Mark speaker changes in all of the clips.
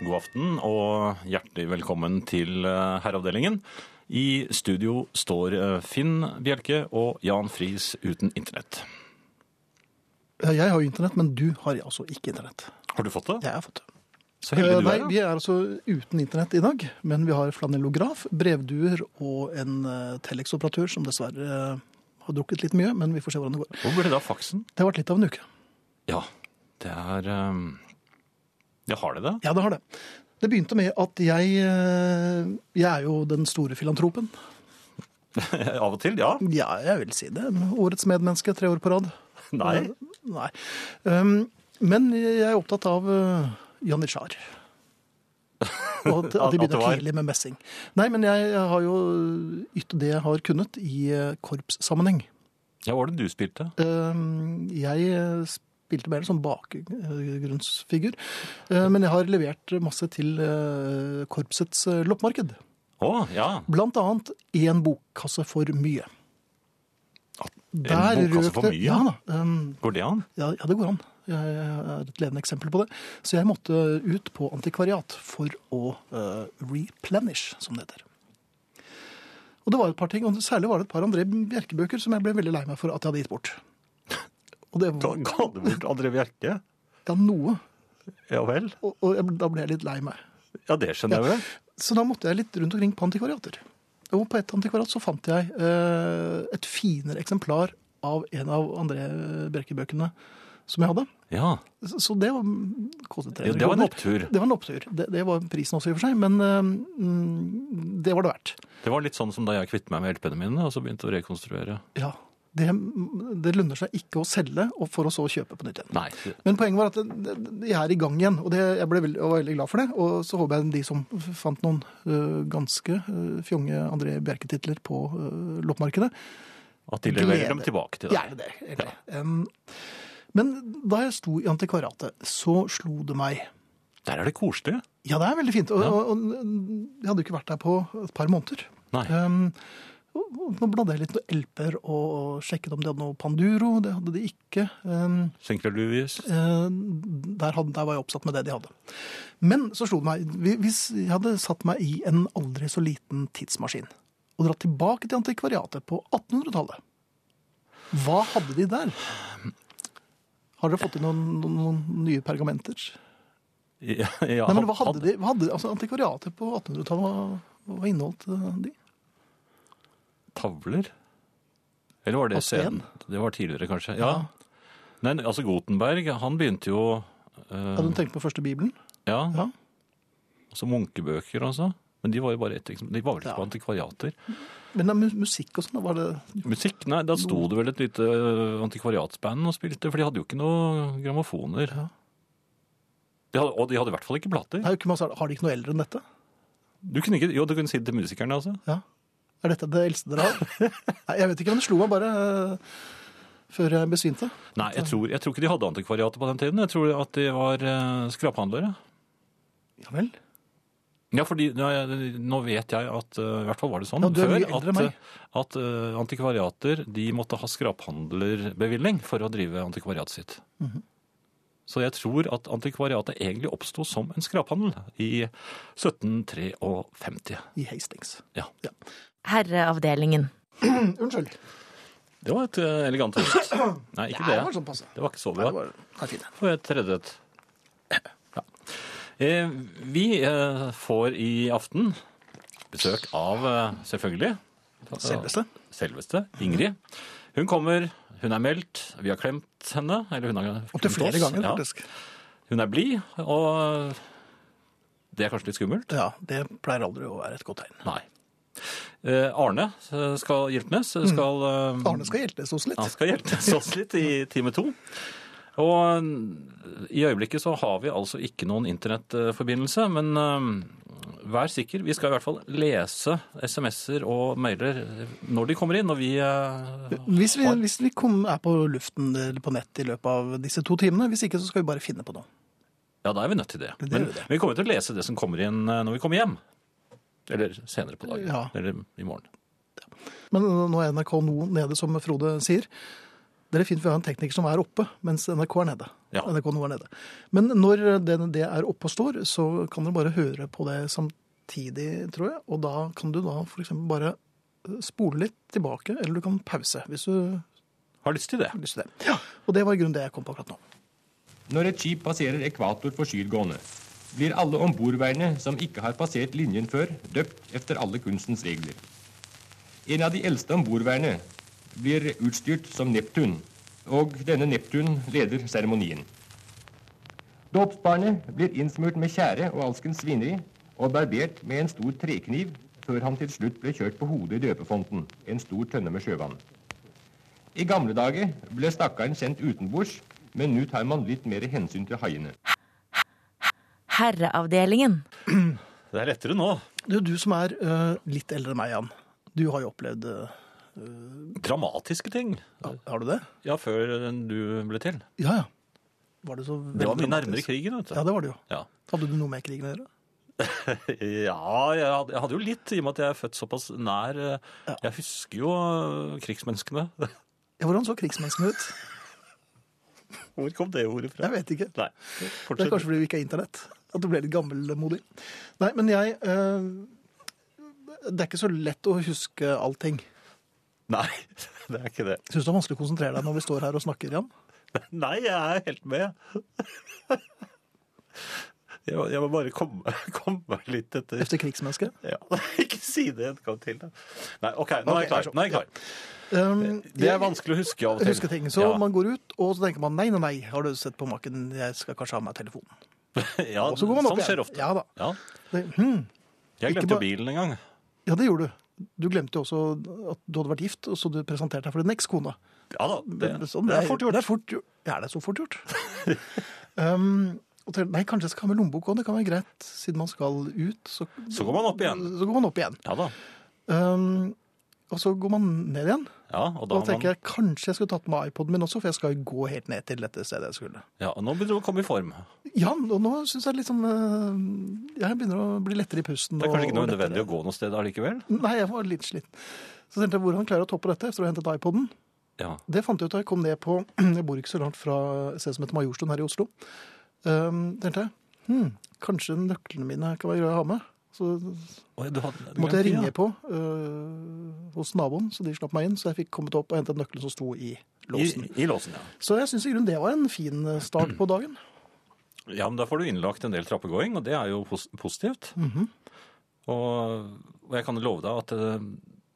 Speaker 1: God aften og hjertelig velkommen til eh, Herreavdelingen. I studio står eh, Finn Bjelke og Jan Friis uten internett.
Speaker 2: Ja, Jeg har jo internett, men du har altså ikke internett.
Speaker 1: Har du fått det?
Speaker 2: Jeg har fått det.
Speaker 1: Så heldig
Speaker 2: Eh,
Speaker 1: du
Speaker 2: Nei,
Speaker 1: er.
Speaker 2: vi
Speaker 1: da.
Speaker 2: er altså uten internett i dag, men vi har flanellograf, brevduer og en eh, telex-operatør som dessverre eh, har drukket litt mye, men vi får se hvordan det går.
Speaker 1: Hvor ble det av faksen?
Speaker 2: Det har vært litt av en uke.
Speaker 1: Ja, det er eh, Ja, har det det?
Speaker 2: Ja, det har det. Det begynte med at jeg eh, Jeg er jo den store filantropen.
Speaker 1: av og til, ja.
Speaker 2: Ja, jeg vil si det. Årets medmenneske tre år på rad.
Speaker 1: Nei.
Speaker 2: Nei. Um, men jeg er opptatt av uh, janitsjar. Og at,
Speaker 1: At-
Speaker 2: at de
Speaker 1: at det
Speaker 2: begynner
Speaker 1: var-
Speaker 2: tidlig med messing. Nei, men jeg, jeg har jo ytt det jeg har kunnet i uh, korpssammenheng.
Speaker 1: Ja, Hva var det du spilte?
Speaker 2: Um, jeg uh, spilte mer som bakgrunnsfigur, uh, men jeg har levert masse til uh, korpsets uh, loppemarked.
Speaker 1: Å, ja.
Speaker 2: Blant annet én bokkasse for mye.
Speaker 1: En
Speaker 2: Der
Speaker 1: bokkasse
Speaker 2: røk
Speaker 1: for
Speaker 2: det-
Speaker 1: mye?
Speaker 2: Ja da. Um,
Speaker 1: Går det an?
Speaker 2: Ja, ja, det går an. Jeg er et levende eksempel på det. Så jeg måtte ut på antikvariat for å eh, replenish, som det heter. Og det var et par ting, og særlig var det et par André Bjerke-bøker som jeg ble veldig lei meg for at jeg hadde gitt bort. Og det
Speaker 1: Ga
Speaker 2: var
Speaker 1: ga du bort André Bjerke?
Speaker 2: ja, noe,
Speaker 1: Ja vel?
Speaker 2: og, og jeg, da ble jeg litt lei meg.
Speaker 1: Ja, det skjønner jeg vel.
Speaker 2: Så da måtte jeg litt rundt omkring på antikvariater. Og på et antikvariat så fant jeg eh, et finere eksemplar av en av André Bjerke-bøkene som jeg hadde.
Speaker 1: Ja.
Speaker 2: Så så det var kostet
Speaker 1: Jo,
Speaker 2: 300
Speaker 1: det var en
Speaker 2: kroner.
Speaker 1: opptur.
Speaker 2: Det var en opptur. Det, det var prisen også i og for seg, men øhm, det var det verdt.
Speaker 1: Det var litt sånn som da jeg kvittet meg med LP-ene mine, og så begynte å rekonstruere.
Speaker 2: Ja, det, det lønner seg ikke å selge og for å så kjøpe på nytt igjen.
Speaker 1: Nei. det-
Speaker 2: Men poenget var at det- det- jeg er i gang igjen, og det, jeg ble veldig, jeg var veldig glad for det. Og så håper jeg de som f- fant noen øh, ganske øh, fjonge André Bjerke-titler på øh, loppemarkedet,
Speaker 1: At de leverer dem
Speaker 2: Glede.
Speaker 1: tilbake til deg.
Speaker 2: gjerne det. egentlig. Em, men da jeg sto i antikvariatet, så slo det meg
Speaker 1: Der er det koselig.
Speaker 2: Ja, det er veldig fint. Og,
Speaker 1: Ja.
Speaker 2: og, og jeg hadde jo ikke vært der på et par måneder.
Speaker 1: Nei.
Speaker 2: Um, og- og nå bladde jeg litt noen LP-er og sjekket om de hadde noe Panduro. Det hadde de ikke. Um,
Speaker 1: Sinclair Lewis.
Speaker 2: eh, der, hadde, der var jeg oppsatt med det de hadde. Men så slo det meg hvi- Hvis jeg hadde satt meg i en aldri så liten tidsmaskin og dratt tilbake til antikvariatet på 1800-tallet, hva hadde de der? Har dere fått inn noen, noen, noen nye pergamenter?
Speaker 1: Ja, ja,
Speaker 2: Nei, men hva hadde de? Hva hadde, altså, antikvariatet på 1800-tallet, hva- hva inneholdt eh, de?
Speaker 1: Tavler? Eller var det
Speaker 2: Av sten?
Speaker 1: scenen? Det var tidligere, kanskje. Ja. Nei, altså Gutenberg, han begynte jo eh,
Speaker 2: Hadde hun tenkt på første Bibelen?
Speaker 1: Ja.
Speaker 2: Ja.
Speaker 1: Altså munkebøker, altså. Men de var jo bare ett eksempel. De var vel ikke
Speaker 2: Ja.
Speaker 1: på antikvariater.
Speaker 2: Men det er mu- musikk og sånn, da var det
Speaker 1: Musikk? Nei, da sto det vel et lite eh, antikvariatsband og spilte, for de hadde jo ikke noen grammofoner.
Speaker 2: Ja.
Speaker 1: De hadde, og de hadde i hvert fall ikke plater.
Speaker 2: Nei, ikke masse, Har de ikke noe eldre enn dette?
Speaker 1: Du kunne ikke, jo, du kunne si det til musikerne, altså.
Speaker 2: Ja. Er dette det eldste dere har? Nei, jeg vet ikke, men det slo meg bare eh, før jeg besvimte.
Speaker 1: Nei, jeg tror, jeg tror ikke de hadde antikvariater på den tiden. Jeg tror at de var eh, skraphandlere.
Speaker 2: Ja vel?
Speaker 1: Ja, fordi nå, nå vet jeg at eh, I hvert fall var det sånn
Speaker 2: Ja, du er
Speaker 1: før
Speaker 2: mye eldre
Speaker 1: at,
Speaker 2: enn meg.
Speaker 1: at eh, antikvariater de måtte ha skraphandlerbevilling for å drive antikvariatet sitt.
Speaker 2: Mhm.
Speaker 1: Så jeg tror at antikvariatet egentlig oppsto som en skraphandel i 1753.
Speaker 2: I Hastings.
Speaker 1: Ja.
Speaker 3: Herreavdelingen.
Speaker 2: Unnskyld.
Speaker 1: Det var et eh, elegant host. Nei, ikke
Speaker 2: Nei,
Speaker 1: det.
Speaker 2: det var sånn passe.
Speaker 1: Det var ikke så
Speaker 2: Nei,
Speaker 1: bra.
Speaker 2: det var Nei, fint.
Speaker 1: Får jeg et tredje et? Ja. Eh, vi eh, får i aften besøk av, eh, selvfølgelig
Speaker 2: Selveste.
Speaker 1: Selveste, Ingrid. Hun kommer, hun er meldt, vi har klemt henne. Eller hun har
Speaker 2: Opptil
Speaker 1: klemt
Speaker 2: flere
Speaker 1: oss,
Speaker 2: ganger,
Speaker 1: ja.
Speaker 2: faktisk.
Speaker 1: Hun er blid, og det er kanskje litt skummelt?
Speaker 2: Ja, det pleier aldri å være et godt tegn.
Speaker 1: Nei. Eh, Arne eh, skal Hjeltnes skal eh,
Speaker 2: Mm. Arne skal hjeltes oss
Speaker 1: Han
Speaker 2: litt.
Speaker 1: skal hjelpes oss litt i time to. Og eh, i øyeblikket så har vi altså ikke noen internettforbindelse, men eh, vær sikker. Vi skal i hvert fall lese SMS-er og mailer når de kommer inn, og vi eh,
Speaker 2: Hvis vi, hvis vi kom, er på luften eller på nett i løpet av disse to timene, hvis ikke så skal vi bare finne på noe.
Speaker 1: Ja, da er vi nødt til det.
Speaker 2: Det er
Speaker 1: Men
Speaker 2: jo det.
Speaker 1: vi kommer til å lese det som kommer inn eh, når vi kommer hjem. Eller senere på dagen.
Speaker 2: Ja.
Speaker 1: Eller i morgen.
Speaker 2: Men nå er NRK nå nede, som Frode sier. Det er fint, for vi har en tekniker som er oppe, mens NRK er nede.
Speaker 4: Ja.
Speaker 2: NRK nå er nede. Men når det, det er oppe og står, så kan dere bare høre på det samtidig, tror jeg. Og da kan du da f.eks. bare eh, spole litt tilbake, eller du kan pause hvis du har
Speaker 4: Har lyst til det.
Speaker 2: lyst til det. Og det var i grunnen det jeg kom på akkurat nå.
Speaker 5: Når et skip passerer ekvator for sydgående, blir alle ombordværende som ikke har passert linjen før, døpt efter alle kunstens regler. En av de eldste ombordværende blir utstyrt som Neptun, og denne Neptun leder seremonien. Dåpsbarnet blir innsmurt med tjære og alskens svineri og barbert med en stor trekniv før han til slutt ble kjørt på hodet i døpefonten, en stor tønne med sjøvann. I gamle dager ble stakkaren sendt utenbords, men nå tar man litt mer hensyn til haiene.
Speaker 3: Herreavdelingen.
Speaker 4: Det er lettere nå.
Speaker 2: Det er jo du som er eh, litt eldre enn meg, Jan. Du har jo opplevd eh,
Speaker 4: Dramatiske ting.
Speaker 2: Har du det?
Speaker 4: Ja, før du ble til.
Speaker 2: Ja, ja. Var det så
Speaker 4: Det var mye nærmere
Speaker 2: dramatisk?
Speaker 4: krigen, vet du.
Speaker 2: Ja, det var det jo.
Speaker 4: Ja.
Speaker 2: Hadde du noe med krigen å gjøre?
Speaker 4: Ja, jeg hadde, jeg hadde jo litt, i og med at jeg er født såpass nær. eh, Jeg husker jo eh, krigsmenneskene.
Speaker 2: Ja, hvordan så krigsmenneskene ut?
Speaker 4: Hvor kom det ordet fra?
Speaker 2: Jeg vet ikke.
Speaker 4: Nei,
Speaker 2: Det er
Speaker 4: fortsett.
Speaker 2: kanskje fordi vi ikke har internett. At du ble litt gammelmodig. Nei, men jeg eh, Det er ikke så lett å huske allting.
Speaker 4: Nei, det er ikke det.
Speaker 2: Syns du det er vanskelig å konsentrere deg når vi står her og snakker, Jan?
Speaker 4: Nei, jeg er helt med. Jeg må, jeg må bare komme, komme meg litt etter.
Speaker 2: Efter krigsmennesket?
Speaker 4: Ja, ikke si det en gang til. da. Nei, OK, nå er
Speaker 2: Ok,
Speaker 4: jeg klar. Nå er jeg klar.
Speaker 2: Um,
Speaker 4: Det er vanskelig å huske av og til.
Speaker 2: Huske ting. Så
Speaker 4: ja.
Speaker 2: man går ut, og så tenker man nei, nei, nei, har du sett på maken, jeg skal kanskje ha meg telefonen.
Speaker 4: ja,
Speaker 2: Og så går man opp
Speaker 4: sånn skjer
Speaker 2: igjen.
Speaker 4: ofte.
Speaker 2: Ja da.
Speaker 4: Ja.
Speaker 2: Det, hmm,
Speaker 4: Jeg
Speaker 2: Ikke
Speaker 4: glemte
Speaker 2: bare-
Speaker 4: jo bilen en gang.
Speaker 2: ja, det gjorde du. Du glemte jo også at du hadde vært gift, og så du presenterte deg for din ekskone.
Speaker 4: Ja da, det,
Speaker 2: Sånn,
Speaker 4: det er fort gjort.
Speaker 2: Det er fort gjort. Ja, det er så fort gjort. um, og tenker, nei, kanskje jeg skal ha med lommebok òg. Det kan være greit, siden man skal ut. Så,
Speaker 4: Så går man opp igjen.
Speaker 2: så går man opp igjen.
Speaker 4: Ja da.
Speaker 2: Um, og så går man ned igjen.
Speaker 4: Ja,
Speaker 2: Da
Speaker 4: og da
Speaker 2: og da
Speaker 4: har man...
Speaker 2: tenker jeg kanskje jeg skulle tatt med iPoden min også, for jeg skal jo gå helt ned til dette stedet jeg skulle.
Speaker 4: Ja, og nå begynner du å komme i form.
Speaker 2: Ja, og nå syns jeg litt sånn eh, Jeg begynner å bli lettere i pusten.
Speaker 4: Det er kanskje ikke noe
Speaker 2: og- og lettere.
Speaker 4: nødvendig å gå noe sted allikevel?
Speaker 2: Nei, jeg var litt sliten. Så tenkte jeg hvordan klarer jeg å toppe dette etter å ha hentet iPoden?
Speaker 4: Ja.
Speaker 2: Det fant jeg ut da jeg kom ned på Jeg bor ikke så langt fra et sted som heter Majorstuen her i Oslo. Um, tenkte jeg hm, kanskje nøklene mine kan være greie å ha med. Så
Speaker 4: Oi, du hadde-
Speaker 2: måtte jeg
Speaker 4: Ja.
Speaker 2: ringe på øh, hos naboen, så de slapp meg inn. Så jeg fikk kommet opp og hentet nøkkelen som sto i låsen.
Speaker 4: I, I låsen, ja.
Speaker 2: Så jeg syns i grunnen det var en fin eh, start på dagen.
Speaker 4: Ja, men da får du innlagt en del trappegåing, og det er jo pos positivt.
Speaker 2: Mhm.
Speaker 4: og, og jeg kan love deg at eh,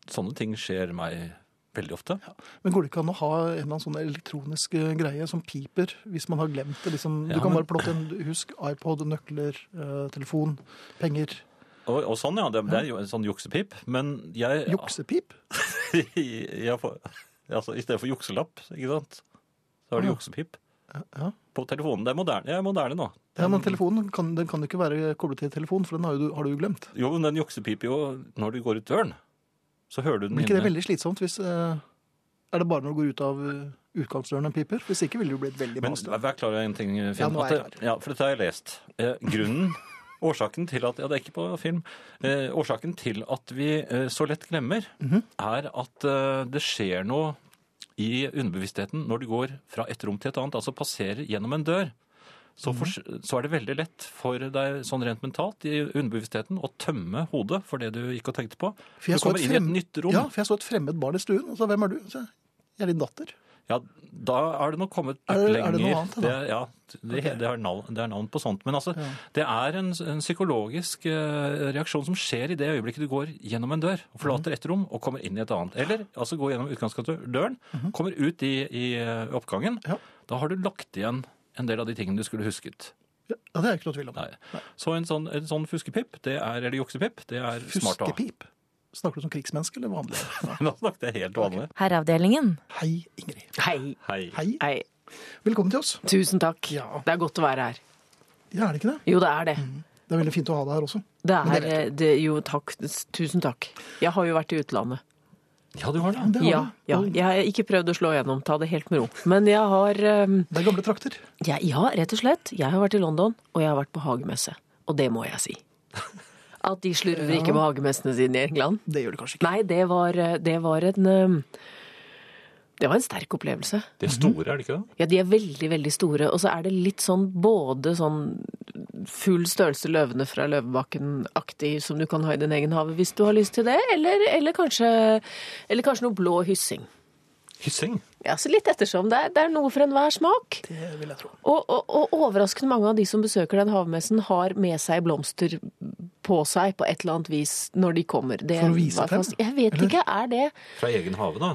Speaker 4: sånne ting skjer meg veldig ofte.
Speaker 2: Men går det ikke an å ha en eller annen sånn elektronisk eh, greie som piper hvis man har glemt det? Liksom,
Speaker 4: Ja,
Speaker 2: du kan
Speaker 4: men-
Speaker 2: bare plotte en husk iPod, nøkler, eh, telefon, penger.
Speaker 4: Og, og sånn, ja. Det, det er jo en sånn juksepip. Men jeg
Speaker 2: Juksepip?
Speaker 4: jeg får, altså, I stedet for jukselapp, ikke sant, så har du
Speaker 2: Ja.
Speaker 4: juksepip
Speaker 2: Ja.
Speaker 4: på telefonen. Det er moderne, jeg er moderne nå.
Speaker 2: Ja, men telefonen kan, den kan jo ikke være koblet til telefonen, for den har, jo, du- har du jo glemt.
Speaker 4: Jo, men den juksepiper jo når du går ut døren. Så hører du den
Speaker 2: Blir ikke det
Speaker 4: inne.
Speaker 2: veldig slitsomt hvis eh, Er det bare når du går ut av eh, utgangsdøren den piper? Hvis ikke ville det jo blitt veldig
Speaker 4: Men
Speaker 2: masete.
Speaker 4: vær klar over en ting, Finn.
Speaker 2: Ja, nå er jeg
Speaker 4: at det- ja, for dette har jeg lest. Eh, grunnen, årsaken til at, ja det er ikke på film, eh, årsaken til at vi eh, så lett glemmer,
Speaker 2: Mhm.
Speaker 4: er at eh, det skjer noe i underbevisstheten når du går fra et rom til et annet, altså passerer gjennom en dør. Så, fors-
Speaker 2: Mhm.
Speaker 4: så er det veldig lett for deg sånn rent mentalt i underbevisstheten å tømme hodet for det du gikk og tenkte på.
Speaker 2: For
Speaker 4: Du
Speaker 2: jeg så
Speaker 4: kommer
Speaker 2: et
Speaker 4: inn i et
Speaker 2: frem-
Speaker 4: nytt rom.
Speaker 2: Ja, for jeg så et fremmed barn i stuen, og så hvem er du? Så, jeg, jeg er din datter.
Speaker 4: Ja, da er det nok kommet
Speaker 2: Er det-
Speaker 4: litt lenger.
Speaker 2: er det noe annet, da?
Speaker 4: Det, ja, det, det, er navn, det er navn på sånt. Men altså, det er en, en psykologisk eh, reaksjon som skjer i det øyeblikket du går gjennom en dør, og
Speaker 2: Mhm.
Speaker 4: forlater ett rom og kommer inn i et annet. Eller altså går gjennom utgangsdøren, kommer ut i, i eh, oppgangen.
Speaker 2: Mhm. Ja.
Speaker 4: Da har du lagt igjen en del av de tingene du skulle husket.
Speaker 2: Ja, det er jeg ikke noe tvil om.
Speaker 4: Nei. Så en sånn, en sånn fuskepip, det er, eller juksepipp, det er smart å ha.
Speaker 2: Fuskepip. Snakker du som krigsmenneske eller vanlig? Ja.
Speaker 4: Nå snakket jeg helt vanlig.
Speaker 3: Herreavdelingen.
Speaker 2: Hei, Ingrid.
Speaker 6: Hei.
Speaker 4: Hei.
Speaker 2: Hei.
Speaker 6: Hei.
Speaker 2: Velkommen til oss.
Speaker 6: Tusen takk.
Speaker 2: Ja.
Speaker 6: Det er godt å være her.
Speaker 2: Ja, er det ikke det?
Speaker 6: Jo, det er det.
Speaker 2: Det er veldig fint å ha deg her også.
Speaker 6: Det
Speaker 2: Men det
Speaker 6: er eh, det, Jo, takk. Tusen takk. Jeg har jo vært i utlandet.
Speaker 4: Ja, du har det.
Speaker 2: Det, har
Speaker 6: Ja,
Speaker 2: du.
Speaker 6: ja. Jeg har ikke prøvd å slå gjennom. Ta det helt med ro. Men jeg har eh,
Speaker 2: det er gamle trakter.
Speaker 6: Ja, ja, rett og slett. Jeg har vært i London, og jeg har vært på hagemesse. Og det må jeg si. At de slurver ikke med hagemessene sine i England.
Speaker 2: Det gjør det kanskje ikke.
Speaker 6: Nei, det var, det var en eh, ehm, Det var en sterk opplevelse.
Speaker 4: De er store, er de ikke det?
Speaker 6: Ja, de er veldig, veldig store. Og så er det litt sånn både sånn full størrelse løvene fra Løvebakken-aktig som du kan ha i din egen hage hvis du har lyst til det, eller, eller, kanskje, eller kanskje noe blå hyssing.
Speaker 4: Hyssing.
Speaker 6: Ja, så litt ettersom. Det er, det er noe for enhver smak.
Speaker 2: Det vil jeg tro.
Speaker 6: Og, og, og overraskende mange av de som besøker den havmessen, har med seg blomster på seg på et eller annet vis når de kommer. Det
Speaker 2: For å vise
Speaker 6: var
Speaker 2: frem,
Speaker 6: fast- Jeg vet ikke, er det
Speaker 4: Fra egen hage, da.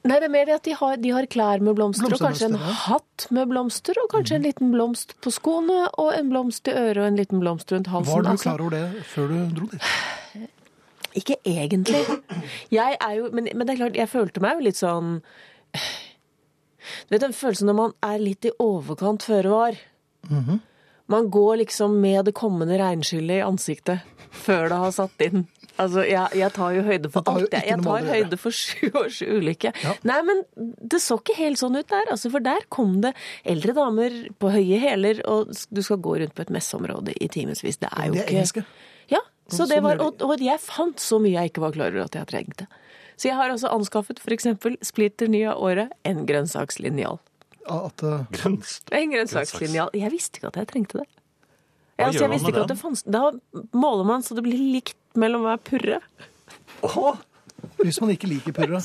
Speaker 6: Nei, det er mer det at de har, de har klær med blomster, og kanskje en
Speaker 2: Blomstermønster, ja. Mm.
Speaker 6: hatt med blomster, og kanskje en liten blomst på skoene, og en blomst i øret, og en liten blomst rundt halsen.
Speaker 2: Var du
Speaker 6: Altså,
Speaker 2: klar over det før du dro dit?
Speaker 6: Ikke egentlig. Jeg er jo, men, men det er klart, jeg følte meg jo litt sånn Du vet den følelsen når man er litt i overkant føre var?
Speaker 2: Mhm.
Speaker 6: Man går liksom med det kommende regnskyllet i ansiktet før det har satt inn. Altså, jeg, jeg tar jo høyde for
Speaker 2: Det har jo
Speaker 6: alt. Jeg,
Speaker 2: ikke
Speaker 6: jeg
Speaker 2: noe med
Speaker 6: tar
Speaker 2: det å gjøre.
Speaker 6: høyde for sju års ulykke. Nei, men det så ikke helt sånn ut der, altså, for der kom det eldre damer på høye hæler, og s- du skal gå rundt på et messeområde i timevis. Det er jo
Speaker 2: De er
Speaker 6: ikke
Speaker 2: engelske.
Speaker 6: ja, så
Speaker 2: sånn
Speaker 6: det var,
Speaker 2: gjør
Speaker 6: og, og jeg fant så mye jeg ikke var klar over at jeg trengte. Så jeg har også anskaffet f.eks. splitter ny av året en grønnsakslinjal.
Speaker 2: At, eh,
Speaker 4: Grønst.
Speaker 6: En grønnsakslinjal. Jeg visste ikke at jeg trengte det.
Speaker 4: Hva
Speaker 6: altså,
Speaker 4: gjør
Speaker 6: jeg
Speaker 4: man
Speaker 6: visste
Speaker 4: med
Speaker 6: ikke at
Speaker 4: den?
Speaker 6: det fanns. Da måler man så det blir likt mellom hver purre.
Speaker 2: hvis man ikke liker purre.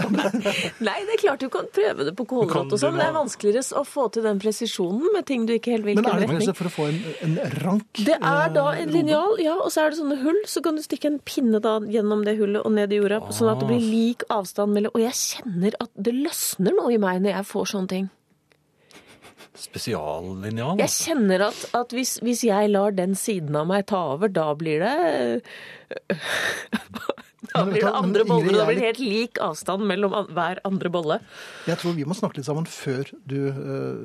Speaker 6: Nei, det er klart du kan prøve det på
Speaker 4: kan
Speaker 6: kålrot og sånn,
Speaker 4: du
Speaker 6: men det er
Speaker 4: nå-
Speaker 6: vanskeligere å få til den presisjonen med ting du ikke helt vil
Speaker 2: Men er
Speaker 6: hvilken
Speaker 2: det
Speaker 6: retning.
Speaker 2: kanskje for å få en, en rank
Speaker 6: Det er da
Speaker 2: eh,
Speaker 6: en
Speaker 2: rode?
Speaker 6: linjal, ja, og så er det sånne hull. Så kan du stikke en pinne da gjennom det hullet og ned i jorda, sånn at det
Speaker 2: Ah.
Speaker 6: blir lik avstand mellom Og jeg kjenner at det løsner noe i meg når jeg får sånne ting.
Speaker 4: Spesiallinjal.
Speaker 6: Jeg kjenner at, at hvis, hvis jeg lar den siden av meg ta over, da blir det Da
Speaker 2: Men vet du
Speaker 6: blir det
Speaker 2: hva, men
Speaker 6: andre
Speaker 2: Ingrid,
Speaker 6: boller, og da
Speaker 2: jeg er
Speaker 6: blir det helt lik avstand mellom an hver andre bolle.
Speaker 2: Eh, Jeg tror vi må snakke litt sammen før du eh,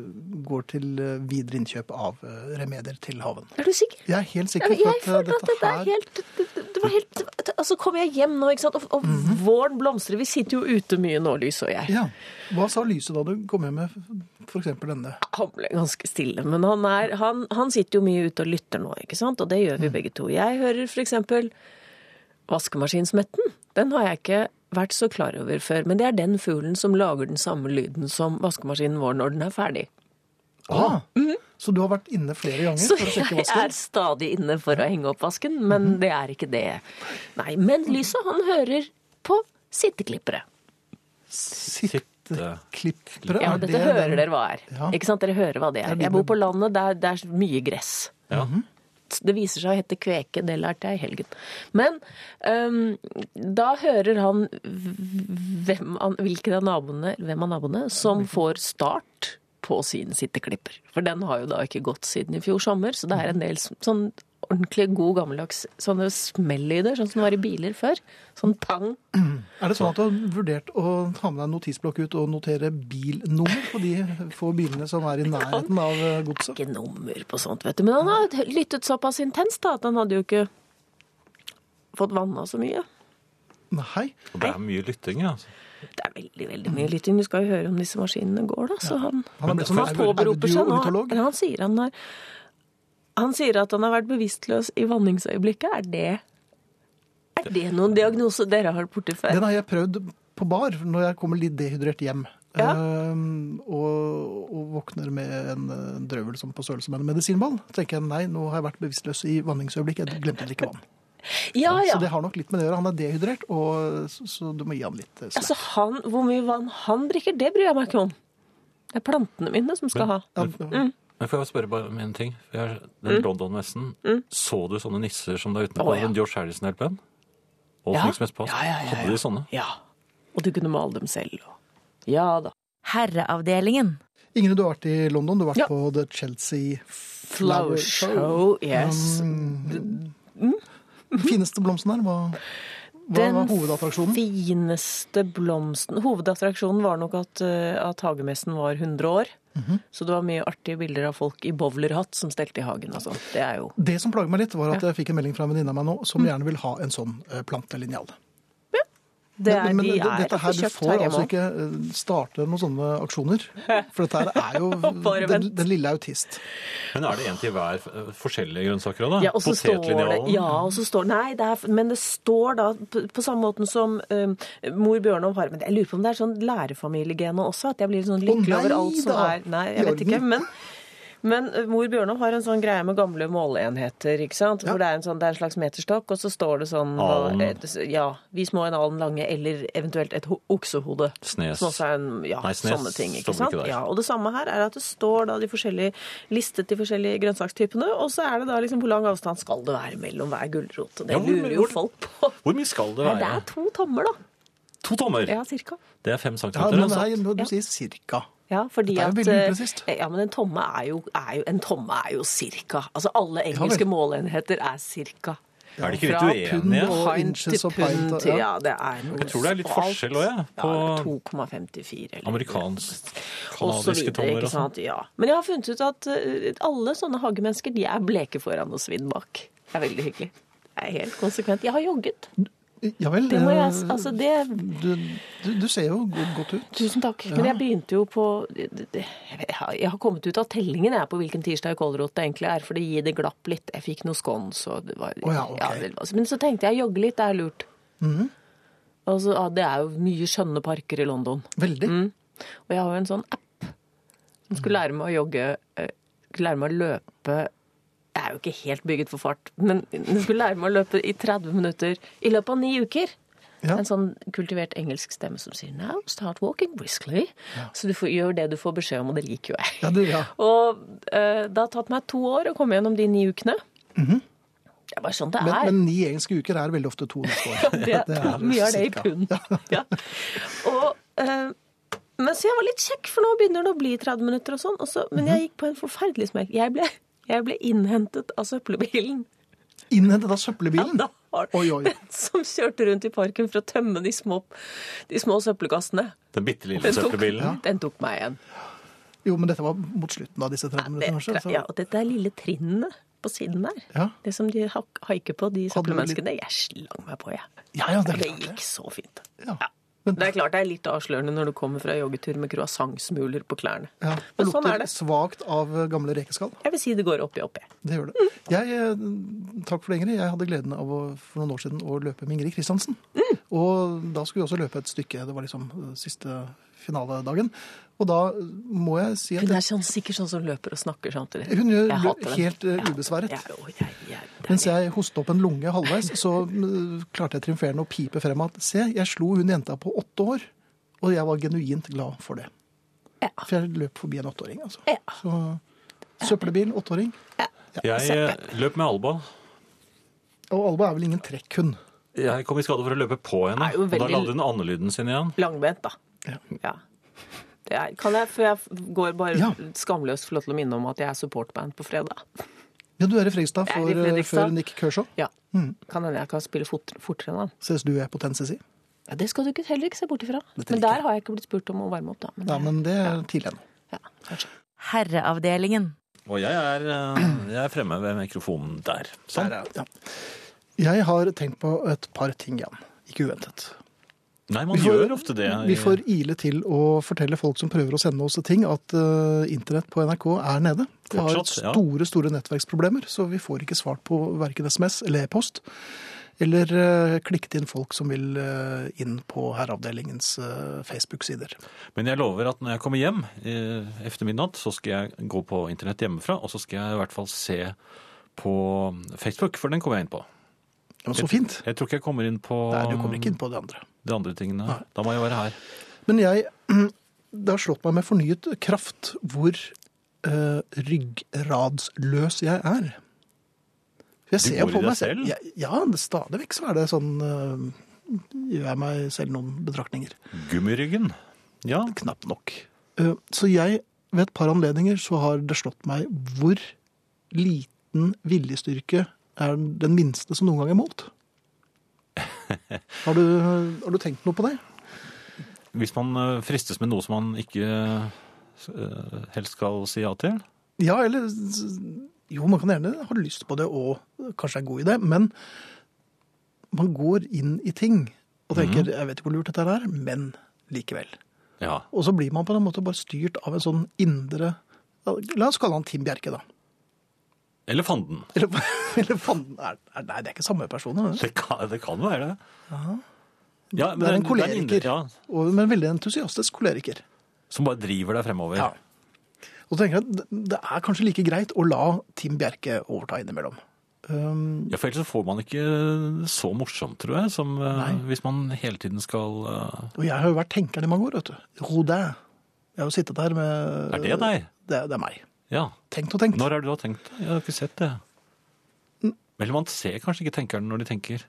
Speaker 2: går til eh, videre innkjøp av eh, remedier til haven.
Speaker 6: Er du sikker?
Speaker 2: Jeg er helt
Speaker 6: Ja,
Speaker 2: sikker
Speaker 6: men
Speaker 2: på
Speaker 6: jeg
Speaker 2: at eh,
Speaker 6: føler
Speaker 2: dette
Speaker 6: at dette er
Speaker 2: her
Speaker 6: helt det, det- det var helt Altså, kommer jeg hjem nå, ikke sant, og, og
Speaker 2: Mhm.
Speaker 6: våren blomstrer. Vi sitter jo ute mye nå, Lys og jeg.
Speaker 2: ja. Hva sa lyset da du kom hjem med f.eks. denne?
Speaker 6: Han ble ganske stille, men han, er, han, han sitter jo mye ute og lytter nå, ikke sant? Og det gjør
Speaker 2: Mm.
Speaker 6: vi begge to. Jeg hører for eksempel vaskemaskinsmetten. Den har jeg ikke vært så klar over før, men det er den fuglen som lager den samme lyden som vaskemaskinen vår når den er ferdig.
Speaker 2: Ah, Så du har vært inne flere ganger
Speaker 6: Mm-hmm. Så
Speaker 2: for å sjekke
Speaker 6: jeg
Speaker 2: vasken? Mhm.
Speaker 6: er stadig inne for å henge opp vasken, men det er ikke det. Nei, men lyset han hører på sitteklippere.
Speaker 2: Sitteklippere?
Speaker 6: Ja,
Speaker 2: er
Speaker 6: dette
Speaker 2: det
Speaker 6: hører
Speaker 2: den-
Speaker 6: dere hva er.
Speaker 2: Ja.
Speaker 6: Ikke sant? Dere hører hva det er. Jeg bor på landet, det er, det er mye gress.
Speaker 2: Mhm.
Speaker 6: Det viser seg å hete kveke, det lærte jeg i helgen. Men øhm, da hører han hvem, han- hvilken av naboene, hvem av naboene
Speaker 2: Mhm.
Speaker 6: som får start på sin sitteklipper. For den har jo da ikke gått siden i fjor sommer, så det er en del s- sånn ordentlig god gammeldags sånne smellyder, sånn som det var i biler før. Sånn pang.
Speaker 2: Er det sånn at du har vurdert å ta med deg en notisblokk ut og notere bilnummer på de få bilene som er i nærheten av eh, godset?
Speaker 6: ikke nummer på sånt, vet du. Men han har lyttet såpass intenst da, at han hadde jo ikke fått vanna så mye.
Speaker 2: Nei.
Speaker 4: Og det er mye lytting, ja. altså.
Speaker 6: Det er veldig, veldig mye lytting. Du skal jo høre om disse maskinene går, da. Så han,
Speaker 2: Han er blitt sånn som
Speaker 6: han
Speaker 2: en
Speaker 6: påberoper seg nå.
Speaker 2: audioornitolog.
Speaker 6: Men han sier han, har, han sier at han har vært bevisstløs i vanningsøyeblikket. Er det, er det noen diagnose dere har vært borti før?
Speaker 2: Den har jeg prøvd på bar når jeg kommer litt dehydrert hjem.
Speaker 6: Ja.
Speaker 2: Ehm, og, og våkner med en, eh, drøvel som på størrelse med en medisinball. tenker jeg nei, nå har jeg vært bevisstløs i vanningsøyeblikk. Jeg glemte å drikke vann.
Speaker 6: Ja, Ah, ja.
Speaker 2: Så det har nok litt med det å gjøre. Han er dehydrert, og, så, så du må gi han litt eh, slack.
Speaker 6: Altså, han, hvor mye vann han drikker, det bryr jeg meg ikke om. Det er plantene mine som skal ha.
Speaker 2: Ja,
Speaker 4: Men får jeg spørre bare om en ting? Jeg har, den London-messen, så du sånne nisser som der ute på
Speaker 6: Mm. Å, ja.
Speaker 4: den George Harrison-LP-en? Og
Speaker 6: Ja.
Speaker 4: Snakes Mest Pass?
Speaker 6: Ja, ja, ja, ja.
Speaker 4: Hadde de sånne?
Speaker 6: Ja. Og du kunne male dem selv. Og... Ja da.
Speaker 3: Herreavdelingen.
Speaker 2: Ingrid, du har vært i London. Du har vært
Speaker 6: Ja.
Speaker 2: på The Chelsea
Speaker 6: Flower show, yes.
Speaker 2: Mm.
Speaker 6: Mhm.
Speaker 2: Den fineste blomsten her, hva, hva var hovedattraksjonen?
Speaker 6: fineste blomsten Hovedattraksjonen var nok at, eh, at hagemessen var 100 år.
Speaker 2: Mhm.
Speaker 6: Så det var mye artige bilder av folk i bowlerhatt som stelte i hagen og sånn. Det er jo
Speaker 2: Det som
Speaker 6: Mm.
Speaker 2: plager meg litt, var at jeg fikk en melding fra en venninne av meg nå som gjerne vil ha en sånn eh, plantelinjal.
Speaker 6: Det er,
Speaker 2: men, men
Speaker 6: de
Speaker 2: det-
Speaker 6: er
Speaker 2: dette her, du
Speaker 6: kjøpt
Speaker 2: får
Speaker 6: her
Speaker 2: altså
Speaker 6: hjemme.
Speaker 2: ikke eh, starte noen sånne aksjoner. For dette her er jo
Speaker 6: Bare
Speaker 2: den,
Speaker 6: vent.
Speaker 2: den lille autist.
Speaker 4: Men er det en til hver eh, forskjellige grønnsaker òg, da?
Speaker 6: Ja, og så står det,
Speaker 4: Potetlinjalen?
Speaker 6: ja, og så står, nei, det er, men det står da på, på samme måten som um, mor Bjørnov har Men jeg lurer på om det er sånn lærerfamiliegenet også, at jeg blir litt sånn lykkelig
Speaker 2: nei
Speaker 6: over alt som
Speaker 2: da!
Speaker 6: er Nei,
Speaker 2: I
Speaker 6: jeg vet ikke.
Speaker 2: orden.
Speaker 6: Men, men uh, mor Bjørnov har en sånn greie med gamle måleenheter, ikke sant. Hvor det er en, sånn, det er en slags meterstokk, og så står det sånn hva-
Speaker 4: Alen.
Speaker 6: et- Ja. Vis må en alen lange, eller eventuelt et ho- oksehode.
Speaker 4: Snes.
Speaker 6: Som også er en, ja,
Speaker 4: Nei, snes
Speaker 6: sånne ting,
Speaker 4: står
Speaker 6: ikke
Speaker 4: vel
Speaker 6: sant?
Speaker 4: ikke der.
Speaker 6: ja, og det samme her er at det står da de forskjellige listet de forskjellige grønnsakstypene, og så er det da liksom hvor lang avstand skal det være mellom hver gulrot. Og det
Speaker 4: Ja, hvor-
Speaker 6: lurer jo
Speaker 4: hvor-
Speaker 6: folk på.
Speaker 4: Hvor mye skal det
Speaker 6: Nei, det
Speaker 4: være?
Speaker 6: er to tommer, da.
Speaker 4: To tommer!
Speaker 6: Ja, cirka.
Speaker 4: Det er fem
Speaker 2: Ja,
Speaker 4: centimeter.
Speaker 2: men
Speaker 4: altså.
Speaker 2: her, du,
Speaker 6: Ja.
Speaker 2: du sier cirka.
Speaker 6: Ja, fordi
Speaker 2: Dette er jo
Speaker 6: at,
Speaker 2: veldig
Speaker 6: eh,
Speaker 2: upresist.
Speaker 6: Ja, men en tomme er jo, er jo, en tomme er jo cirka. Altså alle engelske
Speaker 2: vel.
Speaker 6: måleenheter er cirka.
Speaker 4: Er de ikke
Speaker 6: Fra
Speaker 4: litt
Speaker 2: pund
Speaker 4: uenige?
Speaker 2: og-
Speaker 6: Pint til
Speaker 2: inches og pint
Speaker 6: pund
Speaker 2: og- ja.
Speaker 6: til Ja, det er noe
Speaker 4: Jeg tror det er litt
Speaker 6: alt.
Speaker 4: forskjell også, jeg,
Speaker 6: Ja,
Speaker 4: på
Speaker 6: 2,54 eller
Speaker 4: Amerikansk,
Speaker 6: og så
Speaker 4: kanadiske
Speaker 6: videre,
Speaker 4: tommer
Speaker 6: ikke
Speaker 4: og sånn.
Speaker 6: sant? Ja. Men jeg har funnet ut at eh, alle sånne hagemennesker de er bleke foran og svidd bak. Det er veldig hyggelig. Det er helt konsekvent. Jeg har jogget.
Speaker 2: Ja vel.
Speaker 6: Det må jeg,
Speaker 2: eh,
Speaker 6: altså det,
Speaker 2: du, du, du ser jo go- godt ut.
Speaker 6: tusen takk. Men jeg begynte jo på det- det- Jeg har- jeg har kommet ut av tellingen jeg, på hvilken tirsdag i kålrot det egentlig er, for det gir det glapp litt. Jeg fikk noe scones og det var
Speaker 2: Å ja, ok. Mhm.
Speaker 6: det var- Men så tenkte jeg jogge litt, det er lurt. Og så, ja, det er jo mye skjønne parker i London.
Speaker 2: Veldig.
Speaker 6: Mm. Og jeg har jo en sånn app som skulle lære meg å jogge, eh, skulle lære meg å løpe Jeg er jo ikke helt bygget for fart, men den skulle lære meg å løpe i 30 minutter i løpet av ni uker.
Speaker 2: Ja.
Speaker 6: En sånn kultivert engelsk stemme som sier 'now start walking briskly'. Så du får, gjør det du får beskjed om, og det liker jo jeg.
Speaker 2: Ja, det, ja.
Speaker 6: Og eh, det har tatt meg to år å komme gjennom de ni ukene. Det er bare sånn det
Speaker 2: Mhm. Men,
Speaker 6: er.
Speaker 2: men ni engelske uker er veldig ofte to neste år.
Speaker 6: Det er, mye av det i
Speaker 2: cirka.
Speaker 6: pund. Ja. Og, eh, men så jeg var litt kjekk, for nå begynner det å bli 30 minutter og sånn. Og så, men
Speaker 2: Mhm.
Speaker 6: jeg gikk på en forferdelig smell. Jeg ble, jeg ble innhentet av søppelbilen.
Speaker 2: Innhentet av
Speaker 6: Ja,
Speaker 2: søppelbilen.
Speaker 6: da har
Speaker 2: Mm. Oi, oi.
Speaker 6: Den som kjørte rundt i parken for å tømme de små, de små søppelkassene.
Speaker 4: Den bitte lille
Speaker 6: Den tok,
Speaker 4: søppelbilen.
Speaker 6: den tok meg igjen.
Speaker 2: Jo, men dette var mot slutten av disse 30
Speaker 6: Det,
Speaker 2: minuttene, kanskje. så-
Speaker 6: ja, og dette er lille trinnene på siden der.
Speaker 2: Ja.
Speaker 6: Det som de hak- haiker på, de
Speaker 2: Hadde du litt-
Speaker 6: søppelmenneskene. Jeg slang meg på, jeg.
Speaker 2: Ja, ja, det er
Speaker 6: Det
Speaker 2: klart
Speaker 6: gikk
Speaker 2: det.
Speaker 6: så fint.
Speaker 2: Ja.
Speaker 6: Ja.
Speaker 2: Men-
Speaker 6: Det er klart det er litt avslørende når du kommer fra joggetur med croissantsmuler på klærne.
Speaker 2: Ja. Det
Speaker 6: Men sånn
Speaker 2: lukter
Speaker 6: er det.
Speaker 2: svakt av gamle rekeskall.
Speaker 6: Jeg vil si det går opp i opp i.
Speaker 2: Det gjør det. Jeg, eh, takk for det, Ingrid. Jeg hadde gleden av å, for noen år siden å løpe med Ingrid Kristiansen. Og da skulle vi også løpe et stykke. Det var liksom eh, siste finaledagen. Og da eh, må jeg si at
Speaker 6: Hun er sånn, sikkert sånn som løper og snakker samtidig.
Speaker 2: Hun gjør
Speaker 6: Jeg
Speaker 2: lø-
Speaker 6: hater den.
Speaker 2: helt, eh, ubesværet.
Speaker 6: Ja, ja, å, jeg, jeg, det er-
Speaker 2: mens jeg hostet opp en lunge halvveis, så eh, klarte jeg triumferende å pipe frem at se, jeg slo hun jenta på åtte år. Og jeg var genuint glad for det.
Speaker 6: Ja.
Speaker 2: For jeg løp forbi en åtteåring, altså.
Speaker 6: Ja.
Speaker 2: Så søppelbil, åtteåring.
Speaker 4: Jeg eh, løp med Alba.
Speaker 2: Og Alba er vel ingen trekkhund.
Speaker 4: Jeg kom i skade for å løpe på henne.
Speaker 6: Er jo
Speaker 4: Og da
Speaker 6: veldig-
Speaker 4: lagde hun andelyden sin igjen.
Speaker 6: Langbent, da.
Speaker 2: Ja.
Speaker 6: Ja. Det er, kan jeg, for jeg går bare
Speaker 2: Ja.
Speaker 6: skamløst få lov til å minne om at jeg er supportband på fredag.
Speaker 2: Ja, du er i Fredrikstad
Speaker 6: Jeg er
Speaker 2: for, eh,
Speaker 6: i Fredrikstad.
Speaker 2: før Nick Kershaw.
Speaker 6: Ja.
Speaker 2: Mm.
Speaker 6: Kan hende jeg kan spille fort, fortere enn han.
Speaker 2: Ses du er på Tennessee?
Speaker 6: Ja, det skal du ikke, heller ikke se bort ifra.
Speaker 2: Dette liker
Speaker 6: Men der
Speaker 2: jeg.
Speaker 6: har jeg ikke blitt spurt om å varme opp, da. Men,
Speaker 2: Ja, men det er tidlig ennå.
Speaker 6: ja, kanskje.
Speaker 3: Herreavdelingen.
Speaker 4: Og jeg er, eh, jeg er fremme ved mikrofonen der. Sånn.
Speaker 2: Ja. Jeg har tenkt på et par ting igjen. Ikke uventet.
Speaker 4: Nei, man
Speaker 2: Vi får-
Speaker 4: gjør ofte det. i-
Speaker 2: Vi får ile til å fortelle folk som prøver å sende oss ting, at eh, internett på NRK er nede. Vi har
Speaker 4: Fortsatt, ja.
Speaker 2: store, store nettverksproblemer, så vi får ikke svart på verken SMS eller e-post. Eller eh, klikket inn folk som vil eh, inn på Herreavdelingens eh, Facebook-sider.
Speaker 4: Men jeg lover at når jeg kommer hjem eh, efter midnatt, så skal jeg gå på internett hjemmefra, og så skal jeg i hvert fall se på Facebook, for den kommer jeg inn på.
Speaker 2: Det var så fint.
Speaker 4: Jeg tror ikke jeg kommer inn på
Speaker 2: Nei, du kommer ikke inn på det andre.
Speaker 4: de andre tingene. Da må jeg være her.
Speaker 2: Men jeg, det har slått meg med fornyet kraft hvor eh, ryggradsløs jeg er. Jeg
Speaker 4: Du
Speaker 2: ser jo
Speaker 4: går i
Speaker 2: på
Speaker 4: deg
Speaker 2: meg selv.
Speaker 4: selv?
Speaker 2: Jeg, ja, det- stadig vekk så er det sånn eh, Gjør jeg meg selv noen betraktninger.
Speaker 4: Gummiryggen. Ja.
Speaker 2: Knapt nok. Eh, så jeg, ved et par anledninger, så har det slått meg hvor liten viljestyrke er den minste som noen gang er målt. Har du, har du tenkt noe på det?
Speaker 4: Hvis man eh, fristes med noe som man ikke eh, helst skal si ja til.
Speaker 2: Ja, eller Jo, man kan gjerne ha lyst på det og kanskje er god i det, men man går inn i ting og tenker jeg vet ikke hvor lurt dette her er, men likevel.
Speaker 4: Ja.
Speaker 2: Og så blir man på en måte bare styrt av en sånn indre La oss kalle han Tim Bjerke, da.
Speaker 4: Eller fanden.
Speaker 2: Eller, eller fanden er, er, Nei, det er ikke samme person. Er det?
Speaker 4: Det kan, det kan være det. Ja, men
Speaker 2: Det er en
Speaker 4: den- den indre-
Speaker 2: koleriker,
Speaker 4: ja,
Speaker 2: og, men veldig entusiastisk koleriker.
Speaker 4: som bare driver deg fremover.
Speaker 2: Ja. Og så tenker jeg at det- det er kanskje like greit å la Tim Bjerke overta innimellom. Um,
Speaker 4: Ja, for ellers så får man ikke eh, så morsomt, tror jeg, som eh, hvis man hele tiden skal eh,
Speaker 2: og jeg har jo vært tenkeren i mange år, vet du. Rodin. Jeg har jo sittet der med
Speaker 4: Er det deg?
Speaker 2: Det, det er meg.
Speaker 4: Ja.
Speaker 2: Tenkt og tenkt.
Speaker 4: Når er det du har tenkt det? Jeg har ikke sett det. Vel, man ser kanskje ikke tenkerne når de tenker.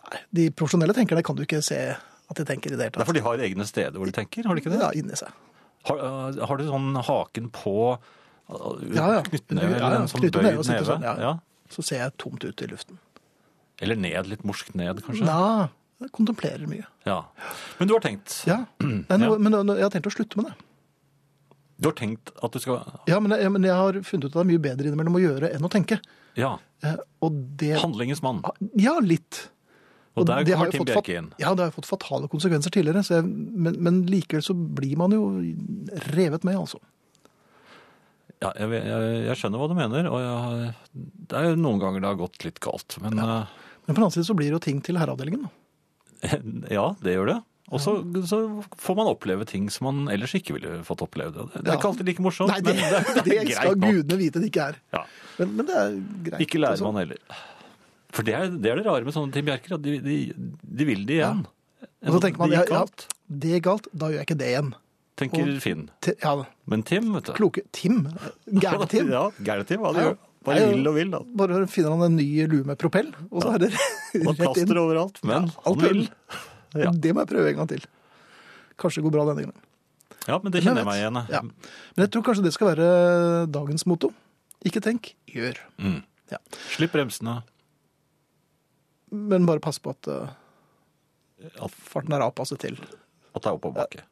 Speaker 2: Nei, de profesjonelle tenkerne kan du ikke se at de tenker i det hele
Speaker 4: Det er
Speaker 2: tatt.
Speaker 4: fordi de har egne steder hvor de tenker, har de ikke det?
Speaker 2: Ja, inni seg.
Speaker 4: Har, eh, har du sånn haken på eh,
Speaker 2: Ja, ja.
Speaker 4: knyttneve,
Speaker 2: Ja, ja.
Speaker 4: eller en sånn
Speaker 2: Knyttneve og
Speaker 4: bøyd
Speaker 2: sitte
Speaker 4: neve?
Speaker 2: sånn, ja.
Speaker 4: ja.
Speaker 2: Så ser jeg tomt ut i luften.
Speaker 4: Eller ned, litt morsk ned, kanskje?
Speaker 2: Ja, jeg kontemplerer mye.
Speaker 4: Ja. Men du har tenkt.
Speaker 2: Ja. Nei, nå, Men nå- jeg har tenkt å slutte med det.
Speaker 4: Du har tenkt at du skal
Speaker 2: Ja, men jeg, men jeg har funnet ut at det er mye bedre innimellom å gjøre enn å tenke.
Speaker 4: Ja.
Speaker 2: Eh, Og det
Speaker 4: Handlingens mann.
Speaker 2: Ja, litt.
Speaker 4: Og der
Speaker 2: det har
Speaker 4: kommer
Speaker 2: jo
Speaker 4: Tim
Speaker 2: fått fat-
Speaker 4: Bjerke inn.
Speaker 2: Ja, det har jo fått fatale konsekvenser tidligere, så jeg, men, men likevel så blir man jo revet med, altså.
Speaker 4: Ja, jeg, jeg, jeg skjønner hva du mener, og jeg, det er jo noen ganger det har gått litt galt. Men eh,
Speaker 2: Men på den annen side så blir det jo ting til herreavdelingen. da.
Speaker 4: ja, det gjør det. Og så, så får man oppleve ting som man ellers ikke ville fått opplevd. Det, det er
Speaker 2: Ja.
Speaker 4: ikke alltid like morsomt,
Speaker 2: Nei, det,
Speaker 4: men det,
Speaker 2: det,
Speaker 4: det er
Speaker 2: skal
Speaker 4: greit nok.
Speaker 2: gudene vite det ikke er.
Speaker 4: Ja.
Speaker 2: Men, men det er greit.
Speaker 4: Ikke lærer
Speaker 2: altså.
Speaker 4: man heller. For det er det, er det rare med sånne Tim Bjerker, at de, de, de vil det igjen.
Speaker 2: Og så tenker man,
Speaker 4: det
Speaker 2: ja,
Speaker 4: gikk
Speaker 2: ja,
Speaker 4: galt,
Speaker 2: det er galt, da gjør jeg ikke det igjen.
Speaker 4: tenker Finn.
Speaker 2: Til, ja,
Speaker 4: Men Tim, vet du.
Speaker 2: kloke Tim. Gære Tim.
Speaker 4: Ja, gære Tim. Han gjør hva
Speaker 2: Ja,
Speaker 4: de
Speaker 2: ja.
Speaker 4: vil og vil, da.
Speaker 2: Bare finner han en ny lue med propell, og så er det
Speaker 4: Og
Speaker 2: rett inn.
Speaker 4: plaster overalt. Men
Speaker 2: Ja,
Speaker 4: han
Speaker 2: alt
Speaker 4: vil.
Speaker 2: vil. Det må jeg prøve en gang til. Kanskje det går bra denne gangen.
Speaker 4: Ja, men det kjenner jeg meg igjen i.
Speaker 2: Ja. Men jeg tror kanskje det skal være dagens motto. Ikke tenk, gjør.
Speaker 4: Mm.
Speaker 2: Ja.
Speaker 4: Slipp bremsene.
Speaker 2: Men bare pass på at eh,
Speaker 4: At,
Speaker 2: farten er avpasset til.
Speaker 4: at det er oppoverbakke.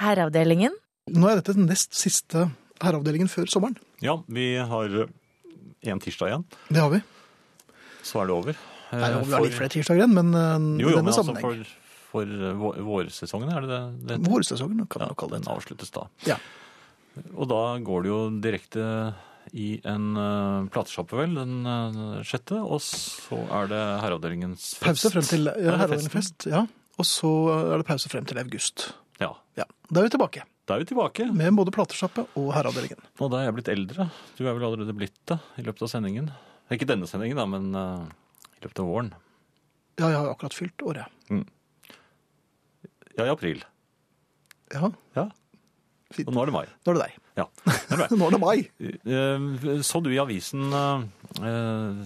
Speaker 3: Herreavdelingen.
Speaker 2: Nå er dette den nest siste herreavdelingen før sommeren.
Speaker 4: Ja, vi har eh, en tirsdag igjen,
Speaker 2: Det har vi.
Speaker 4: så er det over.
Speaker 2: Nei,
Speaker 4: Eh,
Speaker 2: vi har
Speaker 4: for-
Speaker 2: litt flere tirsdager igjen, men eh, i
Speaker 4: Jo, jo, men
Speaker 2: denne
Speaker 4: altså
Speaker 2: sammenheng.
Speaker 4: for, for vår- vårsesongen, er det det? det heter?
Speaker 2: Vårsesongen kan
Speaker 4: ja,
Speaker 2: man jo kalle
Speaker 4: den
Speaker 2: det.
Speaker 4: avsluttes da.
Speaker 2: Ja.
Speaker 4: Og da går det jo direkte i en uh, platesjappe, vel, den eh, sjette, og så er det herreavdelingens fest.
Speaker 2: Pause frem til
Speaker 4: Eller
Speaker 2: ja, herreavdelingen
Speaker 4: festen.
Speaker 2: fest. Ja. Og så eh, er det pause frem til august.
Speaker 4: Ja,
Speaker 2: Ja. Da er vi tilbake
Speaker 4: da er vi tilbake.
Speaker 2: med både platesjappe og herreavdelingen.
Speaker 4: Nå da er jeg blitt eldre. Du er vel allerede blitt det i løpet av sendingen. Ikke denne sendingen da, men eh, i løpet av våren.
Speaker 2: Ja, jeg har jo akkurat fylt året.
Speaker 4: Ja, i april.
Speaker 2: Ja,
Speaker 4: Ja.
Speaker 2: Fint.
Speaker 4: Og nå er det mai.
Speaker 2: nå er det deg.
Speaker 4: Ja, det er bra.
Speaker 2: Nå er det meg.
Speaker 4: Eh, Så du i avisen eh, eh,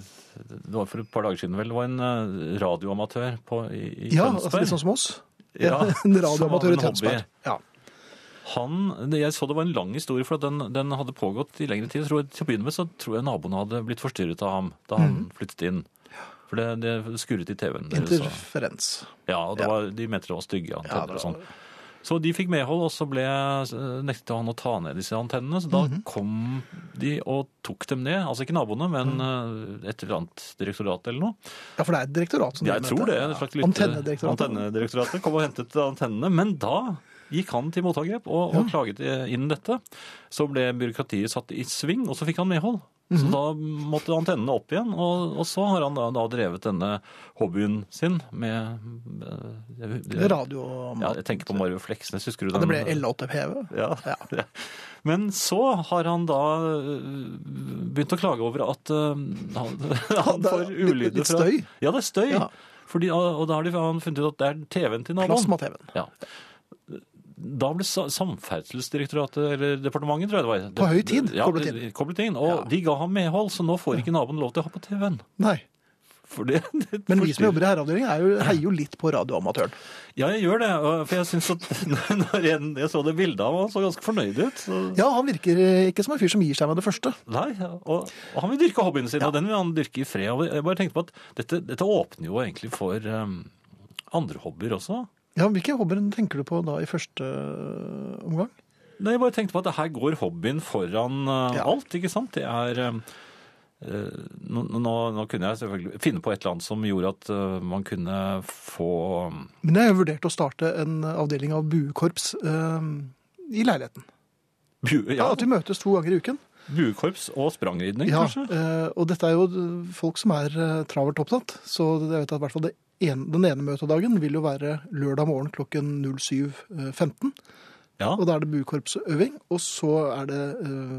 Speaker 4: Det var for et par dager siden, vel. Det var en eh, radioamatør på, i, i
Speaker 2: Ja, altså,
Speaker 4: Tønsberg.
Speaker 2: litt sånn som oss.
Speaker 4: Ja,
Speaker 2: en radioamatør i
Speaker 4: som har en
Speaker 2: Tønsberg. Ja.
Speaker 4: Han, det- jeg så det var en lang historie, for at den, den hadde pågått i lengre tid. Jeg tror, til å begynne med så tror jeg naboene hadde blitt forstyrret av ham da han
Speaker 2: Mm.
Speaker 4: flyttet inn. For det, det skurret i TV-en. deres, og-
Speaker 2: Interferens.
Speaker 4: Ja, og det
Speaker 2: Ja.
Speaker 4: var, de mente det var stygge
Speaker 2: Ja,
Speaker 4: antenner
Speaker 2: det
Speaker 4: og sånn. Så de fikk medhold, og så ble, eh, nektet han å ta ned disse antennene. Så da
Speaker 2: Mhm.
Speaker 4: kom de og tok dem ned. Altså ikke naboene, men
Speaker 2: Mhm.
Speaker 4: eh, et eller annet direktorat eller noe.
Speaker 2: Ja, for det er et direktorat som driver med
Speaker 4: Jeg tror det.
Speaker 2: dette.
Speaker 4: En slags lytte-
Speaker 2: Antennedirektoratet.
Speaker 4: Antennedirektoratet kom og hentet antennene. Men da gikk han til motangrep og, og klaget eh, inn dette. Så ble byråkratiet satt i sving, og så fikk han medhold. Så
Speaker 2: Mhm.
Speaker 4: da måtte antennene opp igjen, og, og så har han da, da drevet denne hobbyen sin med eh,
Speaker 2: Det er Radio...
Speaker 4: ja, jeg tenker på Marve Fleksnes, husker du
Speaker 2: Ja,
Speaker 4: den?
Speaker 2: det ble L8PV.
Speaker 4: Ja.
Speaker 2: Ja.
Speaker 4: Men så har han da øh, begynt å klage over at øh, han,
Speaker 2: det er
Speaker 4: han får
Speaker 2: litt-
Speaker 4: ulyder
Speaker 2: litt
Speaker 4: fra
Speaker 2: støy.
Speaker 4: Ja, det er støy.
Speaker 2: Ja.
Speaker 4: Fordi, og da har de, han funnet ut at det er TV-en til naboen.
Speaker 2: Plasma-TV-en.
Speaker 4: Ja. Da ble Sa- Samferdselsdirektoratet, eller departementet, tror jeg det var.
Speaker 2: På høy tid
Speaker 4: ja,
Speaker 2: koblet inn.
Speaker 4: Koblet inn. Og
Speaker 2: Ja.
Speaker 4: de ga ham medhold, så nå får ikke naboen lov til å ha på TV-en.
Speaker 2: Nei.
Speaker 4: For det, det
Speaker 2: Men vi som
Speaker 4: forstyrrer.
Speaker 2: jobber i herreavdelingen er jo, heier jo litt på radioamatøren.
Speaker 4: Ja, jeg gjør det. og- For jeg syns at når jeg, jeg så det bildet av ham, han så ganske fornøyd ut. Så,
Speaker 2: Ja, han virker eh, ikke som en fyr som gir seg med det første.
Speaker 4: Nei, og, og han vil dyrke hobbyen sin, og den vil han dyrke i fred. Og jeg bare tenkte på at dette, dette åpner jo egentlig for um, andre hobbyer også.
Speaker 2: Ja, Hvilke hobbyer tenker du på da i første eh, omgang?
Speaker 4: Nei, jeg bare tenkte på at her går hobbyen foran uh,
Speaker 2: Ja.
Speaker 4: alt, ikke sant? Det er um, eh, nå, nå, nå kunne jeg selvfølgelig finne på et eller annet som gjorde at eh, man kunne få ehm,
Speaker 2: Men jeg har vurdert å starte en avdeling av buekorps eh, i leiligheten.
Speaker 4: bue,
Speaker 2: Ja,
Speaker 4: ja,
Speaker 2: At vi møtes to ganger i uken.
Speaker 4: buekorps og sprangridning,
Speaker 2: Ja,
Speaker 4: kanskje?
Speaker 2: eh, og dette er jo folk som er eh, travelt opptatt, så jeg vet at i hvert fall det en, den ene møtedagen vil jo være lørdag morgen klokken 07.15.
Speaker 4: Ja.
Speaker 2: Og da er det buekorpsøving, og så er det eh,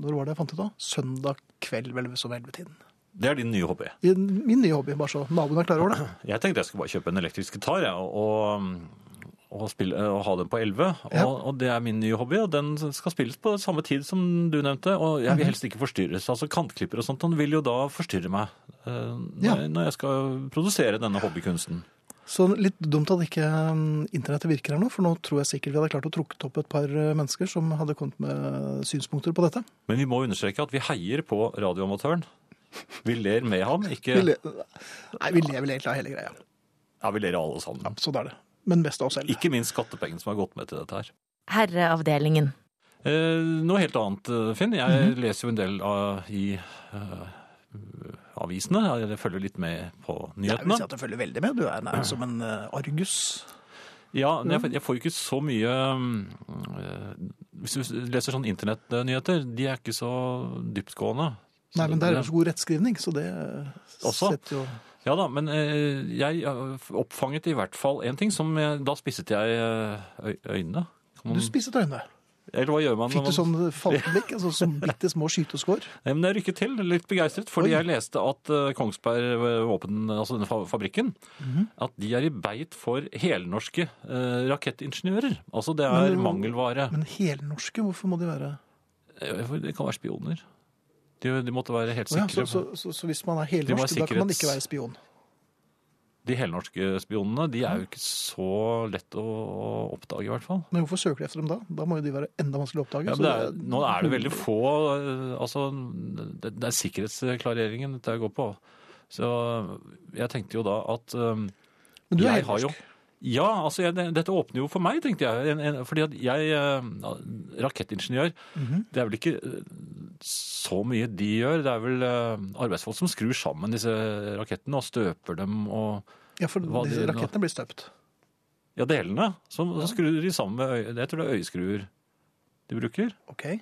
Speaker 2: Når var det jeg fant ut da? Søndag kveld, vel som elvetiden.
Speaker 4: Det er din nye hobby.
Speaker 2: I Min nye hobby, bare så naboen er klar over det.
Speaker 4: Jeg tenkte jeg skulle bare kjøpe en elektrisk gitar jeg, og, og, spille, og ha den på 11. Og,
Speaker 2: Ja.
Speaker 4: og det er min nye hobby, og den skal spilles på samme tid som du nevnte. Og
Speaker 2: Mhm.
Speaker 4: jeg vil helst ikke forstyrres. Altså Kantklipper og sånt han vil jo da forstyrre meg eh, når,
Speaker 2: Ja.
Speaker 4: jeg, når jeg skal produsere denne hobbykunsten.
Speaker 2: Så litt dumt at ikke mm, internettet virker her nå, for nå tror jeg sikkert vi hadde klart å trukket opp et par eh, mennesker som hadde kommet med synspunkter på dette.
Speaker 4: Men vi må understreke at vi heier på radioamatøren. Vi ler med ham, ikke
Speaker 2: Vi le Nei, vi lever vel egentlig av hele greia.
Speaker 4: Ja, vi ler av alle sammen.
Speaker 2: Så da er det. Men mest av oss selv.
Speaker 4: Ikke minst skattepengene som har gått med til dette her.
Speaker 3: Herreavdelingen.
Speaker 4: Eh, noe helt annet, eh, Finn. Jeg
Speaker 2: Mhm.
Speaker 4: leser jo en del av, i eh, avisene. Jeg følger litt med på
Speaker 2: Jeg vil
Speaker 4: nyhetene.
Speaker 2: si at du følger veldig med. Du er nærmest som en eh, argus.
Speaker 4: Ja,
Speaker 2: Mhm.
Speaker 4: men jeg, får- jeg får jo ikke så mye mm, eh, Hvis du leser sånn internettnyheter, de er ikke så dyptgående.
Speaker 2: Nei, men det er
Speaker 4: det-
Speaker 2: jo så god rettskrivning, så det eh,
Speaker 4: Også?
Speaker 2: setter jo
Speaker 4: Ja da, men eh, jeg eh, oppfanget i hvert fall én ting som jeg, Da spisset jeg eh, øy- øynene. Kan man-
Speaker 2: Du spisset øynene.
Speaker 4: Eller hva gjør man? når
Speaker 2: Fikk du sånn
Speaker 4: man-
Speaker 2: falkeblikk? Altså som bitte små skyteskår?
Speaker 4: Nei, men jeg rykket til, litt begeistret, fordi
Speaker 2: Oi.
Speaker 4: jeg leste at eh, Kongsberg Våpen, altså denne fa- fabrikken,
Speaker 2: Mhm.
Speaker 4: at de er i beit for helnorske eh, rakettingeniører. Altså det er
Speaker 2: Men-
Speaker 4: mangelvare.
Speaker 2: Men helnorske, hvorfor må de være
Speaker 4: Eh, for Det kan være spioner. De, de måtte være helt
Speaker 2: Å ja,
Speaker 4: sikre.
Speaker 2: så, så, så, så hvis man er
Speaker 4: De var
Speaker 2: helnorsk, da kan man
Speaker 4: sikkerhets-
Speaker 2: ikke være spion?
Speaker 4: De helnorske spionene de er jo ikke så lett å, å oppdage, i hvert fall.
Speaker 2: Men hvorfor søker de etter dem da? Da må jo de være enda vanskeligere å oppdage.
Speaker 4: Ja,
Speaker 2: så
Speaker 4: men det er, nå er det veldig få eh, Altså, det, det er sikkerhetsklareringen dette går på. Så jeg tenkte jo da at eh,
Speaker 2: Men du er
Speaker 4: Jeg har jo-
Speaker 2: helnorsk.
Speaker 4: Ja, altså, jeg, det- dette åpner jo for meg, tenkte jeg. En, en, fordi at jeg, eh, rakettingeniør,
Speaker 2: Mhm.
Speaker 4: det er vel ikke eh, så mye de gjør. Det er vel eh, arbeidsfolk som skrur sammen disse rakettene og støper dem og
Speaker 2: Ja, for
Speaker 4: Hva
Speaker 2: disse
Speaker 4: de-
Speaker 2: rakettene blir støpt.
Speaker 4: ja, delene. Så, så skrur de sammen med øye, jeg tror det er øyeskruer de bruker.
Speaker 2: Ok.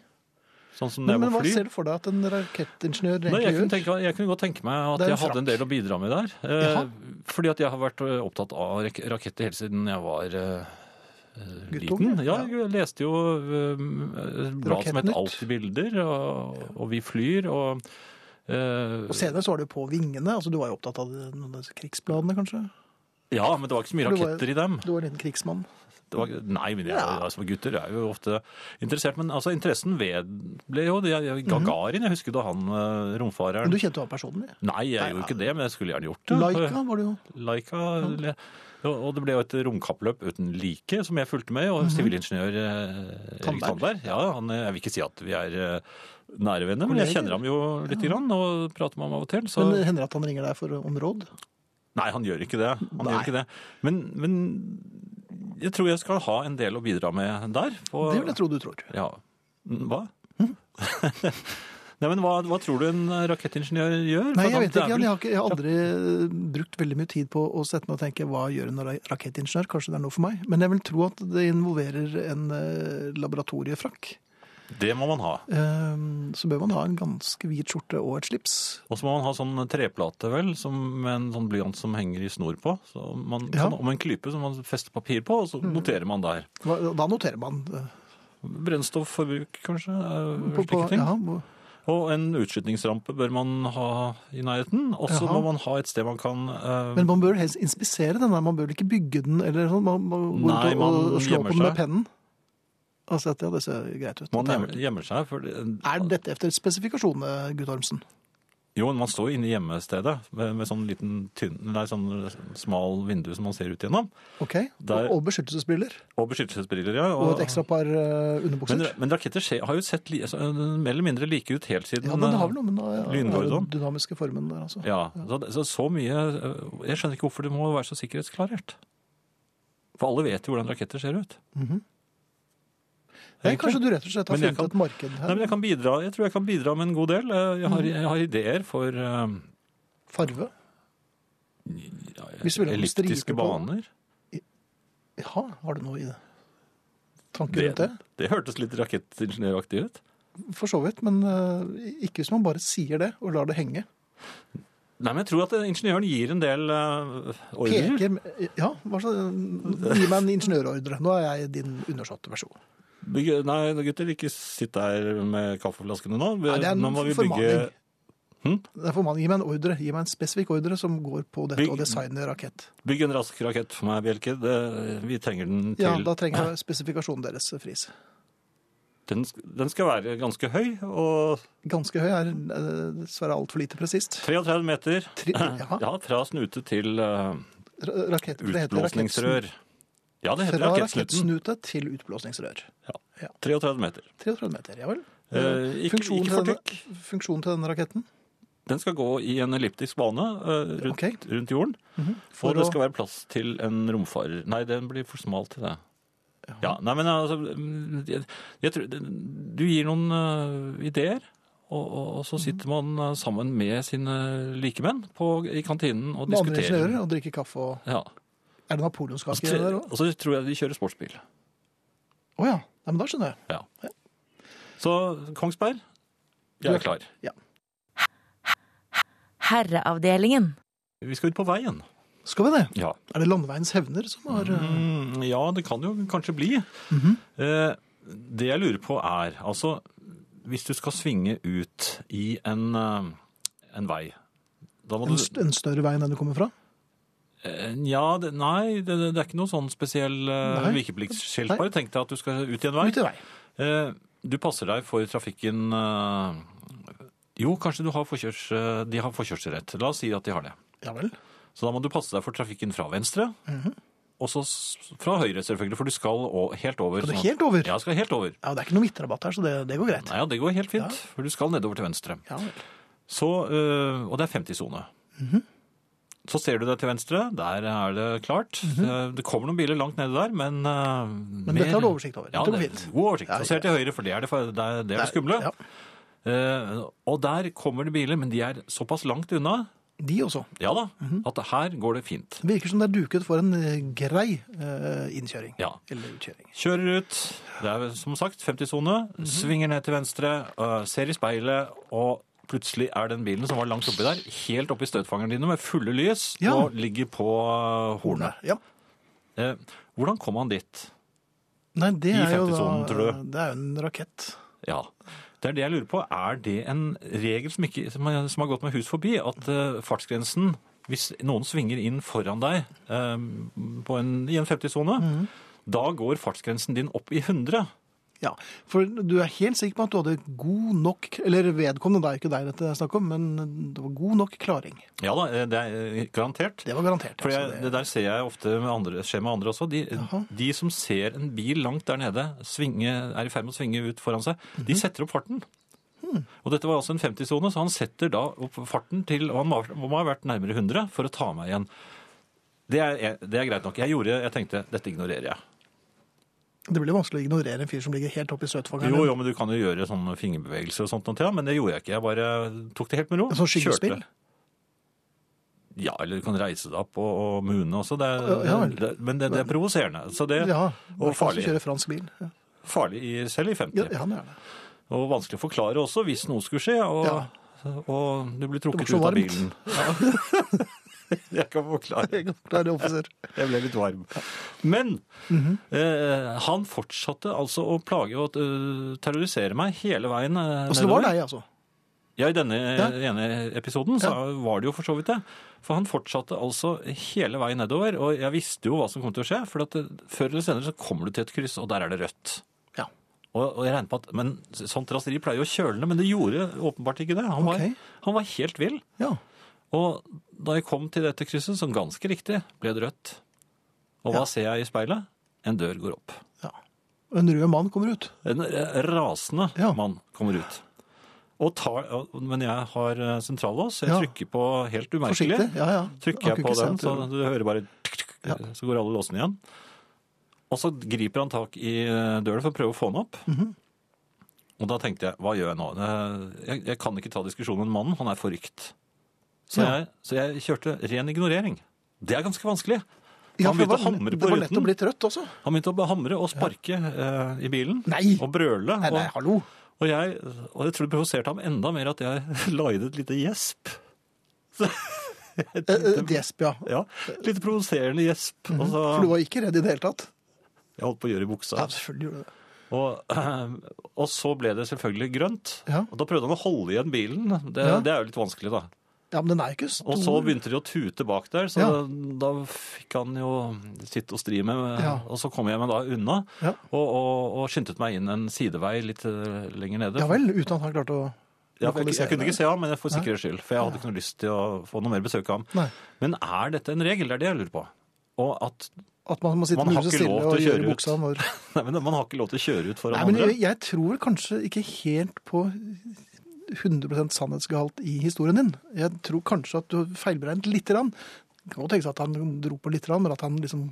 Speaker 4: Sånn som det
Speaker 2: Men, men
Speaker 4: er på
Speaker 2: hva
Speaker 4: fly.
Speaker 2: ser du for deg at en rakettingeniør
Speaker 4: Nei,
Speaker 2: egentlig
Speaker 4: jeg,
Speaker 2: gjør?
Speaker 4: kunne tenke, jeg kunne godt tenke meg at
Speaker 2: Det er en
Speaker 4: jeg hadde en
Speaker 2: frakk.
Speaker 4: del å bidra med der. Eh,
Speaker 2: Jaha.
Speaker 4: fordi at jeg har vært eh, opptatt av rak raketter helt siden jeg var eh, eh,
Speaker 2: Guttunge,
Speaker 4: liten. Ja,
Speaker 2: ja.
Speaker 4: jeg leste jo eh, et blad som
Speaker 2: Rakettnytt.
Speaker 4: het Alltid bilder, og, og Vi flyr, og eh,
Speaker 2: Og senere så var det jo på vingene. altså Du var jo opptatt av de- noen av disse krigsbladene, kanskje?
Speaker 4: Ja, men det var ikke så mye
Speaker 2: Du var-
Speaker 4: raketter i dem.
Speaker 2: Du var en liten krigsmann.
Speaker 4: Det var, nei, men jeg, altså, gutter er jo ofte interessert. Men altså, interessen ved ble jo det. Jeg- Gagarin, jeg husker da han eh,
Speaker 2: Mhm. Men
Speaker 4: romfareren
Speaker 2: du kjente jo han personlig.
Speaker 4: Nei, jeg
Speaker 2: Nei,
Speaker 4: gjorde
Speaker 2: nei.
Speaker 4: ikke det, men jeg skulle gjerne gjort det.
Speaker 2: Laika var det jo.
Speaker 4: Laika. le- Og og det ble jo et romkappløp uten like som jeg fulgte med, og sivilingeniør eh,
Speaker 2: Mhm.
Speaker 4: Erik
Speaker 2: Tandberg.
Speaker 4: Tandberg. Ja, han, eh, jeg vil ikke si at vi er eh, nære venner, men jeg
Speaker 2: Kolleger.
Speaker 4: kjenner ham jo lite grann og prater med ham av og til. Så...
Speaker 2: Men eh, det hender det at han ringer deg for om råd?
Speaker 4: Nei, han gjør ikke det. Han
Speaker 2: Nei.
Speaker 4: gjør ikke det. Men, men jeg tror jeg skal ha en del å bidra med der. på-
Speaker 2: Det vil jeg tro Hm? du tror.
Speaker 4: Ja. Mm, Hva? Nei, men hva, hva tror du en eh, rakettingeniør gjør?
Speaker 2: Nei,
Speaker 4: For
Speaker 2: jeg
Speaker 4: han-
Speaker 2: vet
Speaker 4: det er
Speaker 2: ikke. Jeg
Speaker 4: vel-
Speaker 2: har, ikke, jeg har aldri eh, brukt veldig mye tid på å sette meg og tenke hva gjør en ra- rakettingeniør? Kanskje det er noe for meg? Men jeg vil tro at det involverer en eh, laboratoriefrakk.
Speaker 4: Det må man ha.
Speaker 2: Eh, Så bør man ha en ganske hvit skjorte og et slips.
Speaker 4: Og så må man ha sånn treplate, vel, som, med en sånn blyant som henger i snor på. Så man,
Speaker 2: Ja. Mm.
Speaker 4: sånn, om en klype som man fester papir på, og så noterer man der.
Speaker 2: Hva- Da noterer man eh,
Speaker 4: Brennstofforbruk, kanskje. eh,
Speaker 2: på, på
Speaker 4: slike ting.
Speaker 2: ja, hvor-
Speaker 4: Og en utskytningsrampe bør man ha i nærheten. Og så
Speaker 2: Jaha.
Speaker 4: må man ha et sted man kan eh,
Speaker 2: Men man bør helst inspisere den der, man bør ikke bygge den eller sånn. Man må gå
Speaker 4: Nei,
Speaker 2: ut og,
Speaker 4: man
Speaker 2: og slå
Speaker 4: gjemmer
Speaker 2: på den med
Speaker 4: seg.
Speaker 2: pennen. Altså, at, ja, det ser greit ut.
Speaker 4: Man
Speaker 2: Dette er
Speaker 4: gjemmer, gjemmer seg. For,
Speaker 2: vel- Er dette efter spesifikasjonene, Guttormsen?
Speaker 4: jo, man står jo inne i gjemmestedet med, med sånn liten tynn, nei, sånn smal vindu som man ser ut gjennom.
Speaker 2: Ok,
Speaker 4: Der-
Speaker 2: Og beskyttelsesbriller.
Speaker 4: Og beskyttelsesbriller, ja.
Speaker 2: Og et ekstra par eh, underbukser.
Speaker 4: men, men raketter skje- har jo sett li, altså, mer eller mindre like ut helt siden
Speaker 2: ja, men det har
Speaker 4: eh,
Speaker 2: vel noe med den ja,
Speaker 4: Lynhorisont.
Speaker 2: den dynamiske formen der, altså.
Speaker 4: Ja, så, så, så mye øh, Jeg skjønner ikke hvorfor det må være så
Speaker 2: Mhm.
Speaker 4: sikkerhetsklarert. For alle vet jo hvordan raketter ser ut.
Speaker 2: Ja, kanskje du rett og slett har
Speaker 4: Men jeg
Speaker 2: funnet
Speaker 4: kan-
Speaker 2: et marked
Speaker 4: Nei,
Speaker 2: her.
Speaker 4: men jeg, kan bidra, jeg tror jeg kan bidra med en god del. Eh, Jeg har,
Speaker 2: Mhm.
Speaker 4: jeg har ideer for eh,
Speaker 2: Farve. Hvis du vil ha noen
Speaker 4: elliptiske
Speaker 2: striper på-
Speaker 4: baner.
Speaker 2: Ja, har du noe i det? Tanker rundt
Speaker 4: Det,
Speaker 2: det?
Speaker 4: det hørtes litt rakettingeniøraktig ut.
Speaker 2: For så vidt, men eh, ikke hvis man bare sier det og lar det henge.
Speaker 4: Nei, men jeg tror at eh, ingeniøren gir en del eh, ordrer.
Speaker 2: Peker med- Ja, hva så, gi meg en ingeniørordre. Nå er jeg din undersåtte versjon.
Speaker 4: Bygge, nei, gutter, ikke sitt der med kaffeflaskene nå.
Speaker 2: Nei, det er en
Speaker 4: nå må vi bygge
Speaker 2: formaning. Det er for mange. Gi meg en ordre. Gi meg en spesifikk ordre som går på dette
Speaker 4: Bygg-
Speaker 2: å designe rakett.
Speaker 4: Bygg en rask rakett for meg, Bjelke. Det, vi trenger den til
Speaker 2: Ja, da trenger jeg spesifikasjonen deres, Friis.
Speaker 4: den, sk- den skal være ganske høy og
Speaker 2: Ganske høy er eh, dessverre altfor lite presist.
Speaker 4: 33 meter.
Speaker 2: Tre, ja,
Speaker 4: Ja, fra snute til eh,
Speaker 2: ra- rakett, det heter
Speaker 4: utblåsningsrør. Ja,
Speaker 2: rakettsnu-
Speaker 4: det heter
Speaker 2: Fra
Speaker 4: rakettsnutten.
Speaker 2: rakettsnute til utblåsningsrør. Ja.
Speaker 4: 33 meter.
Speaker 2: 33 meter, ja vel.
Speaker 4: Eh, ikke,
Speaker 2: Funksjonen
Speaker 4: ikke for
Speaker 2: til denne-
Speaker 4: tykk.
Speaker 2: Funksjonen til denne raketten?
Speaker 4: Den skal gå i en elliptisk bane eh,
Speaker 2: Ok.
Speaker 4: rundt,
Speaker 2: Mhm.
Speaker 4: rundt jorden.
Speaker 2: For
Speaker 4: og det
Speaker 2: å-
Speaker 4: skal være plass til en romfarer. Nei, den blir for smal til det. Ja, nei, men altså mm, jeg, jeg tror, Du gir noen eh, ideer, og, og, og
Speaker 2: Mhm.
Speaker 4: så sitter man eh, sammen med sine likemenn på, i kantinen og
Speaker 2: Med andre
Speaker 4: diskuterer.
Speaker 2: ingeniører og drikke kaffe og
Speaker 4: Ja.
Speaker 2: Er det
Speaker 4: Og,
Speaker 2: napoleonskake
Speaker 4: så,
Speaker 2: der òg?
Speaker 4: og så altså, tror jeg de kjører sportsbil.
Speaker 2: Å ja. Nei, men da skjønner jeg.
Speaker 4: Ja. Så Kongsberg, jeg
Speaker 2: Du er-
Speaker 4: er klar.
Speaker 3: Herreavdelingen.
Speaker 4: Vi skal ut på veien.
Speaker 2: Skal vi det?
Speaker 4: Ja.
Speaker 2: Er det landeveiens hevner som har eh,
Speaker 4: Mm, ja, det kan jo kanskje bli. eh, det jeg lurer på er, altså hvis du skal svinge ut i en, eh, en vei da må
Speaker 2: en,
Speaker 4: du,
Speaker 2: st en større vei enn den du kommer fra?
Speaker 4: eh, ja, det, nei, det, det er ikke noe sånn spesiell eh,
Speaker 2: Nei.
Speaker 4: vikepliktsskilt.
Speaker 2: Nei.
Speaker 4: Bare tenk deg at du skal ut i en vei.
Speaker 2: Ut i vei.
Speaker 4: Eh, du passer deg for trafikken eh, Jo, kanskje du har forkjørs, eh, de har forkjørsrett. La oss si at de har det.
Speaker 2: Ja vel.
Speaker 4: Så da må du passe deg for trafikken fra venstre,
Speaker 2: Mhm.
Speaker 4: og så s- fra høyre selvfølgelig, for du skal å- helt over.
Speaker 2: Skal du
Speaker 4: sånn at-
Speaker 2: helt over?
Speaker 4: Ja, skal helt over.
Speaker 2: Ja, Det er ikke noe midtrabatt her, så det, det går greit.
Speaker 4: Nei, ja, det går helt fint, for du skal nedover til venstre.
Speaker 2: Ja vel.
Speaker 4: Så, øh, og det er 50-sone.
Speaker 2: Mhm.
Speaker 4: Så ser du deg til venstre, der er det klart. Eh, Det kommer noen biler langt nede der, men øh,
Speaker 2: Mhm. Men dette har du oversikt over.
Speaker 4: Ja,
Speaker 2: Dette går
Speaker 4: det,
Speaker 2: fint.
Speaker 4: god oversikt.
Speaker 2: Ja,
Speaker 4: Og ser til høyre, for det er det, det, er det, er det skumle.
Speaker 2: Ja.
Speaker 4: Eh, og der kommer det biler, men de er såpass langt unna,
Speaker 2: De også.
Speaker 4: ja da,
Speaker 2: Mhm.
Speaker 4: at her går det fint.
Speaker 2: Det virker som det er duket for en eh, grei eh, innkjøring.
Speaker 4: Ja.
Speaker 2: Eller utkjøring.
Speaker 4: Kjører ut, det er som sagt 50-sone, svinger ned til venstre, øh, ser i speilet, og plutselig er den bilen som var langt oppi der, helt oppi støtfangeren dine med fulle lys,
Speaker 2: Ja.
Speaker 4: og ligger på øh, hornet.
Speaker 2: Ja.
Speaker 4: Eh, hvordan kom han dit?
Speaker 2: Nei, det
Speaker 4: I
Speaker 2: er jo da
Speaker 4: 50-sonen, tror du?
Speaker 2: Det er jo en rakett.
Speaker 4: Ja, det er det jeg lurer på. Er det en regel som, ikke, som, har- som har gått med hus forbi, at øh, fartsgrensen, hvis noen svinger inn foran deg øh, på en, i en 50-sone, da går fartsgrensen din opp i 100?
Speaker 2: Ja, For du er helt sikker på at du hadde god nok Eller vedkommende, det er jo ikke deg dette er snakk om, men det var god nok klaring.
Speaker 4: Ja da, eh, det er eh, garantert.
Speaker 2: Det var garantert.
Speaker 4: For jeg,
Speaker 2: altså,
Speaker 4: det der ser jeg ofte med andre, skjer med andre også. De,
Speaker 2: Jaha.
Speaker 4: de som ser en bil langt der nede, svinge, er i ferd med å svinge ut foran seg,
Speaker 2: Mhm.
Speaker 4: de setter opp farten.
Speaker 2: Hmm.
Speaker 4: Og dette var altså en 50-sone, så han setter da opp farten til og Han må, må ha vært nærmere 100 for å ta meg igjen. Det er, det er greit nok. Jeg gjorde, jeg tenkte dette ignorerer jeg.
Speaker 2: Det blir vanskelig å ignorere en fyr som ligger helt oppe i søtfangeren.
Speaker 4: Jo, jo, men du kan jo gjøre sånne fingerbevegelser og sånt, noe til, ja, men det gjorde jeg ikke. Jeg bare tok det helt med ro.
Speaker 2: En sånn skyggespill?
Speaker 4: Kjørte. Ja, eller du kan reise deg opp og, og mune også. Det er,
Speaker 2: Ja, ja vel.
Speaker 4: det, men det, det er provoserende. Så det
Speaker 2: Ja,
Speaker 4: og farlig.
Speaker 2: Kjøre fransk bil. Ja,
Speaker 4: farlig i, selv i 50.
Speaker 2: ja, ja det er det.
Speaker 4: Og vanskelig å forklare også hvis noe skulle skje, og, og du blir trukket
Speaker 2: Det var så
Speaker 4: ut av
Speaker 2: varmt.
Speaker 4: bilen. jeg kan forklare.
Speaker 2: Klare offiser.
Speaker 4: Jeg ble litt varm. Men
Speaker 2: Mhm.
Speaker 4: eh, han fortsatte altså å plage og eh, terrorisere meg hele veien. eh,
Speaker 2: Altså, det var
Speaker 4: nedover.
Speaker 2: deg, altså.
Speaker 4: Ja, i denne
Speaker 2: Ja.
Speaker 4: ene episoden så var det jo for så vidt det. For han fortsatte altså hele veien nedover, og jeg visste jo hva som kom til å skje, for at det, før eller senere så kommer du til et kryss, og der er det rødt.
Speaker 2: Ja.
Speaker 4: Og, og jeg regner på at, men Sånt raseri pleier jo å kjøle ned, men det gjorde åpenbart ikke det. Han var,
Speaker 2: Ok.
Speaker 4: han var helt vill.
Speaker 2: ja.
Speaker 4: Og da jeg kom til dette krysset, som ganske riktig ble det rødt, og
Speaker 2: Ja.
Speaker 4: hva ser jeg i speilet? En dør går opp.
Speaker 2: ja. Og En rød mann kommer ut.
Speaker 4: En rasende
Speaker 2: Ja.
Speaker 4: mann kommer ut. Og tar, men jeg har eh, sentrallås, så jeg
Speaker 2: Ja.
Speaker 4: trykker på helt umerkelig.
Speaker 2: Forsiktig. Ja, ja.
Speaker 4: Trykker
Speaker 2: Han
Speaker 4: jeg
Speaker 2: kunne
Speaker 4: på
Speaker 2: ikke se
Speaker 4: den,
Speaker 2: at
Speaker 4: så
Speaker 2: du-
Speaker 4: du hører bare Så går alle låsene igjen. Og så griper han tak i eh, døren for å prøve å få den opp.
Speaker 2: Mhm.
Speaker 4: Og da tenkte jeg, hva gjør jeg nå? Det- Jeg, jeg kan ikke ta diskusjonen med mannen, han er forrykt. Så,
Speaker 2: Ja.
Speaker 4: jeg, så jeg kjørte ren ignorering. Det er ganske vanskelig.
Speaker 2: Ja,
Speaker 4: Han
Speaker 2: for det
Speaker 4: begynte å
Speaker 2: var-
Speaker 4: hamre
Speaker 2: Det
Speaker 4: på
Speaker 2: var lett å
Speaker 4: ruten.
Speaker 2: bli trøtt også.
Speaker 4: Han begynte å hamre og sparke eh, i bilen.
Speaker 2: Nei!
Speaker 4: Og brøle.
Speaker 2: Nei, nei,
Speaker 4: og-
Speaker 2: hallo.
Speaker 4: og jeg, og jeg tror det provoserte ham enda mer at jeg la inn et lite gjesp.
Speaker 2: Eh, eh, Desp, ja.
Speaker 4: Ja, litt provoserende gjesp.
Speaker 2: Mhm.
Speaker 4: Og så
Speaker 2: For du var ikke redd i det hele tatt?
Speaker 4: Jeg holdt på å gjøre i buksa.
Speaker 2: Ja, selvfølgelig gjorde du det.
Speaker 4: Og, eh, og så ble det selvfølgelig grønt.
Speaker 2: Ja.
Speaker 4: Og da prøvde han å holde igjen bilen. Det,
Speaker 2: Ja.
Speaker 4: det er jo litt vanskelig, da.
Speaker 2: Ja, men den er jo ikke stor.
Speaker 4: Og så begynte de å tute bak der, så
Speaker 2: Ja.
Speaker 4: da, da fikk han jo sitte og stri med.
Speaker 2: Ja.
Speaker 4: Og så kom jeg meg da unna,
Speaker 2: Ja.
Speaker 4: og, og, og skyndte meg inn en sidevei litt eh, lenger nede.
Speaker 2: Ja vel, uten at han klarte å
Speaker 4: Jeg, kunne- jeg kunne ikke se ham, men for
Speaker 2: Nei.
Speaker 4: sikkerhets skyld. For jeg hadde ikke noe lyst til å få noe mer besøk av ham.
Speaker 2: Nei.
Speaker 4: Men er dette en regel? Det er det jeg lurer på. Og at
Speaker 2: At man må sitte
Speaker 4: Man har
Speaker 2: muse
Speaker 4: ikke
Speaker 2: stille
Speaker 4: lov
Speaker 2: og
Speaker 4: til å
Speaker 2: gjøre
Speaker 4: kjøre ut.
Speaker 2: buksa når
Speaker 4: Nei, men man har ikke lov til å kjøre ut foran
Speaker 2: Nei, men jeg,
Speaker 4: andre.
Speaker 2: jeg tror kanskje ikke helt på 100 sannhetsgehalt i historien din. Jeg tror kanskje at du har feilberegnet lite grann. Det kan godt tenkes at han dro på lite grann, men at han liksom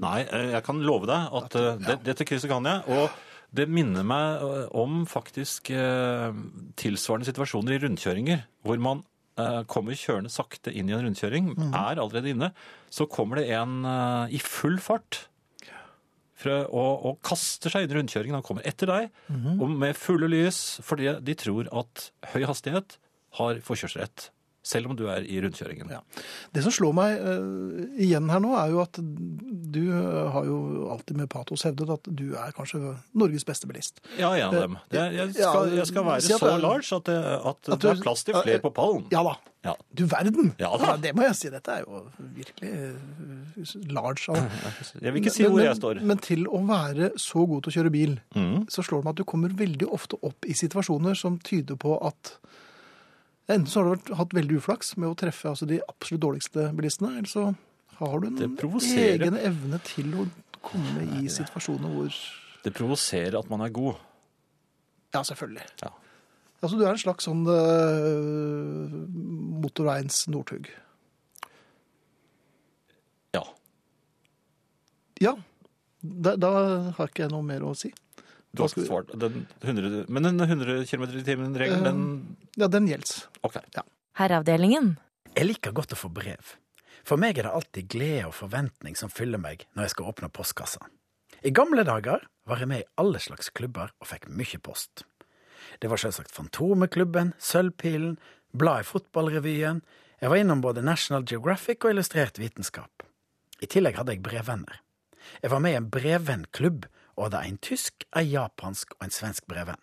Speaker 4: Nei, eh, jeg kan love deg at eh, det, dette krysset kan jeg. Og det minner meg eh, om faktisk eh, tilsvarende situasjoner i rundkjøringer, hvor man eh, kommer kjørende sakte inn i en rundkjøring, er allerede inne, så kommer det en eh, i full fart fra, og, og kaster seg inn i rundkjøringen. Han kommer etter deg, og med fulle lys, fordi de tror at høy hastighet har forkjørsrett, selv om du er i rundkjøringen.
Speaker 2: Ja. Det som slår meg eh, igjen her nå, er jo at du eh, har jo alltid med patos hevdet at du er kanskje Norges beste bilist.
Speaker 4: Ja, en av dem. Det, er- jeg, skal,
Speaker 2: Ja,
Speaker 4: jeg skal være
Speaker 2: si at
Speaker 4: så
Speaker 2: det er-
Speaker 4: large at det, at
Speaker 2: At
Speaker 4: det
Speaker 2: du-
Speaker 4: er plass til flere på pallen.
Speaker 2: Ja da.
Speaker 4: Ja.
Speaker 2: Du verden!
Speaker 4: Ja da.
Speaker 2: det må jeg si. Dette er jo virkelig eh, large. av-
Speaker 4: Jeg vil ikke si hvor jeg står. Mm.
Speaker 2: Men, men til å være så god til å kjøre bil, så slår det meg at du kommer veldig ofte opp i situasjoner som tyder på at enten så har du vært, hatt veldig uflaks med å treffe altså, de absolutt dårligste bilistene, eller så har du en
Speaker 4: Det provoserer.
Speaker 2: egen evne til å komme i situasjoner hvor
Speaker 4: Det provoserer at man er god.
Speaker 2: Ja, selvfølgelig.
Speaker 4: Ja.
Speaker 2: Altså, du er en slags sånn uh, motorveiens Northug.
Speaker 4: Ja.
Speaker 2: Ja. Da, da har ikke jeg noe mer å si.
Speaker 4: Du
Speaker 2: Hva
Speaker 4: har
Speaker 2: skal
Speaker 4: ikke
Speaker 2: vi-
Speaker 4: svart. Den 100, men den 100 km i timen-regelen, den
Speaker 2: Ja, den gjelder.
Speaker 4: OK.
Speaker 3: Herreavdelingen.
Speaker 7: Jeg liker godt å få brev. For meg er det alltid glede og forventning som fyller meg når jeg skal åpne postkassa. I gamle dager var jeg med i alle slags klubber og fikk mye post. Det var selvsagt Fantomeklubben, Sølvpilen, bladet Fotballrevyen, jeg var innom både National Geographic og Illustrert vitenskap. I tillegg hadde jeg brevvenner. Jeg var med i en brevvennklubb og hadde en tysk, en japansk og en svensk brevvenn.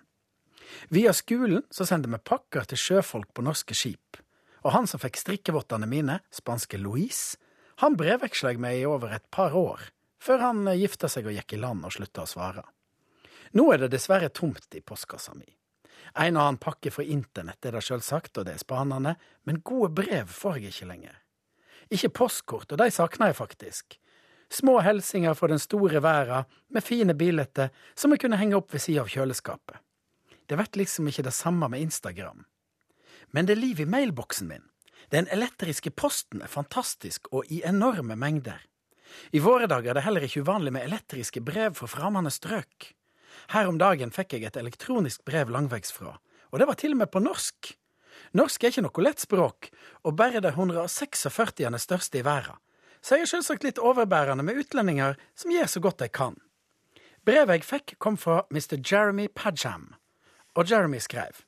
Speaker 7: Via skolen så sendte vi pakker til sjøfolk på norske skip. Og han som fikk strikkevottene mine, spanske Luis, han brevveksla jeg med i over et par år, før han eh, gifta seg og gikk i land og slutta å svare. Nå er det dessverre tomt i postkassa mi. En og annen pakke fra internett er det sjølsagt, og det er spanende, men gode brev får jeg ikke lenger. Ikke postkort, og de savner jeg faktisk. Små hilsener fra den store verden, med fine bilder som jeg kunne henge opp ved sida av kjøleskapet. Det blir liksom ikke det samme med Instagram. Men det er liv i mailboksen min. Den elektriske posten er fantastisk og i enorme mengder. I våre dager er det heller ikke uvanlig med elektriske brev fra fremmede strøk. Her om dagen fikk jeg et elektronisk brev langveisfra, og det var til og med på norsk. Norsk er ikke noe lett språk, og bare det 146. største i verden. Så jeg er selvsagt litt overbærende med utlendinger som gjør så godt de kan. Brevet jeg fikk, kom fra Mr. Jeremy Padgham, og Jeremy skrev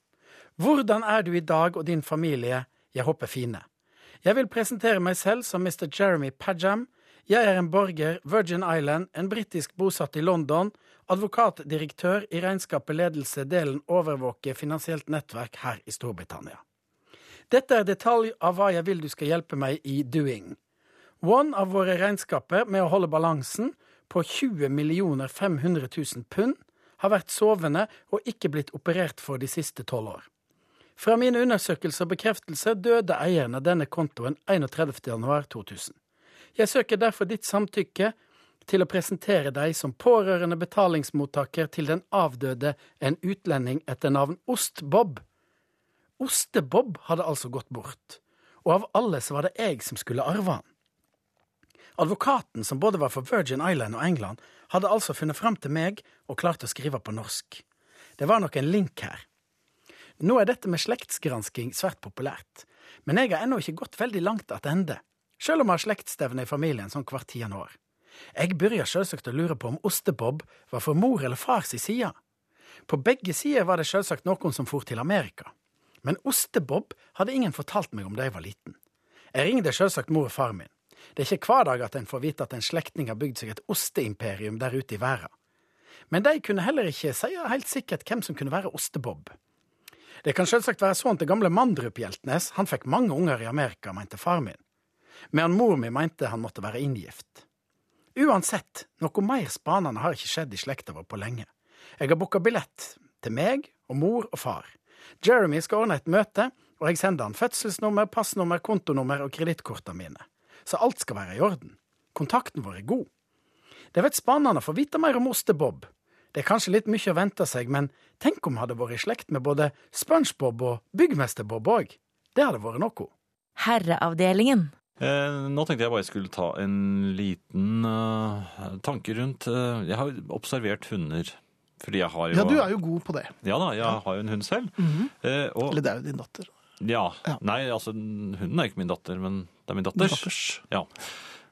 Speaker 7: Hvordan er du i dag og din familie? Jeg håper fine. Jeg vil presentere meg selv som Mr. Jeremy Padgham. Jeg er en borger, Virgin Island, en britisk bosatt i London, advokatdirektør i regnskapet ledelse delen overvåke finansielt nettverk her i Storbritannia. Dette er detalj av hva jeg vil du skal hjelpe meg i doing. One av våre regnskaper med å holde balansen på 20 500 000 pund har vært sovende og ikke blitt operert for de siste tolv år. Fra mine undersøkelser og bekreftelser døde eieren av denne kontoen 31.1.2000. Jeg søker derfor ditt samtykke til å presentere deg som pårørende betalingsmottaker til den avdøde, en utlending etter navn Ost-Bob. Ostebob hadde altså gått bort, og av alle så var det jeg som skulle arve han. Advokaten, som både var for Virgin Island og England, hadde altså funnet fram til meg og klart å skrive på norsk. Det var nok en link her. Nå er dette med slektsgransking svært populært, men jeg har ennå ikke gått veldig langt attende, sjøl om jeg har slektstevne i familien sånn hvert tiende år. Jeg begynner sjølsagt å lure på om Ostebob var for mor eller far si side. På begge sider var det sjølsagt noen som for til Amerika. Men Ostebob hadde ingen fortalt meg om da jeg var liten. Jeg ringte sjølsagt mor og far min. Det er ikke hver dag at en får vite at en slektning har bygd seg et osteimperium der ute i verden. Men de kunne heller ikke si helt sikkert hvem som kunne være Ostebob. Det kan sjølsagt være sånn til gamle Mandrup Hjeltnes, han fikk mange unger i Amerika, mente far min. Men mor mi mente han måtte være inngift. Uansett, noe mer spanende har ikke skjedd i slekta vår på lenge. Jeg har booka billett til meg og mor og far. Jeremy skal ordne et møte, og jeg sender han fødselsnummer, passnummer, kontonummer og kredittkortene mine. Så alt skal være i orden. Kontakten vår er god. Det har vært spennende å få vite mer om Ostebob. Det er kanskje litt mye å vente seg, men tenk om vi hadde vært i slekt med både SpongeBob og Byggmester-Bob òg. Det hadde vært noe.
Speaker 3: Herreavdelingen.
Speaker 4: Eh, nå tenkte jeg bare jeg skulle ta en liten eh, tanke rundt eh, Jeg har observert hunder. Fordi jeg har jo
Speaker 2: Ja, du er jo god på det.
Speaker 4: Ja da, jeg har jo en hund selv. eh, og,
Speaker 2: Eller det er jo din datter.
Speaker 4: ja,
Speaker 2: Ja.
Speaker 4: Nei, altså, hunden er ikke min datter, men det er min
Speaker 2: Din
Speaker 4: datters.
Speaker 2: datters.
Speaker 4: Ja.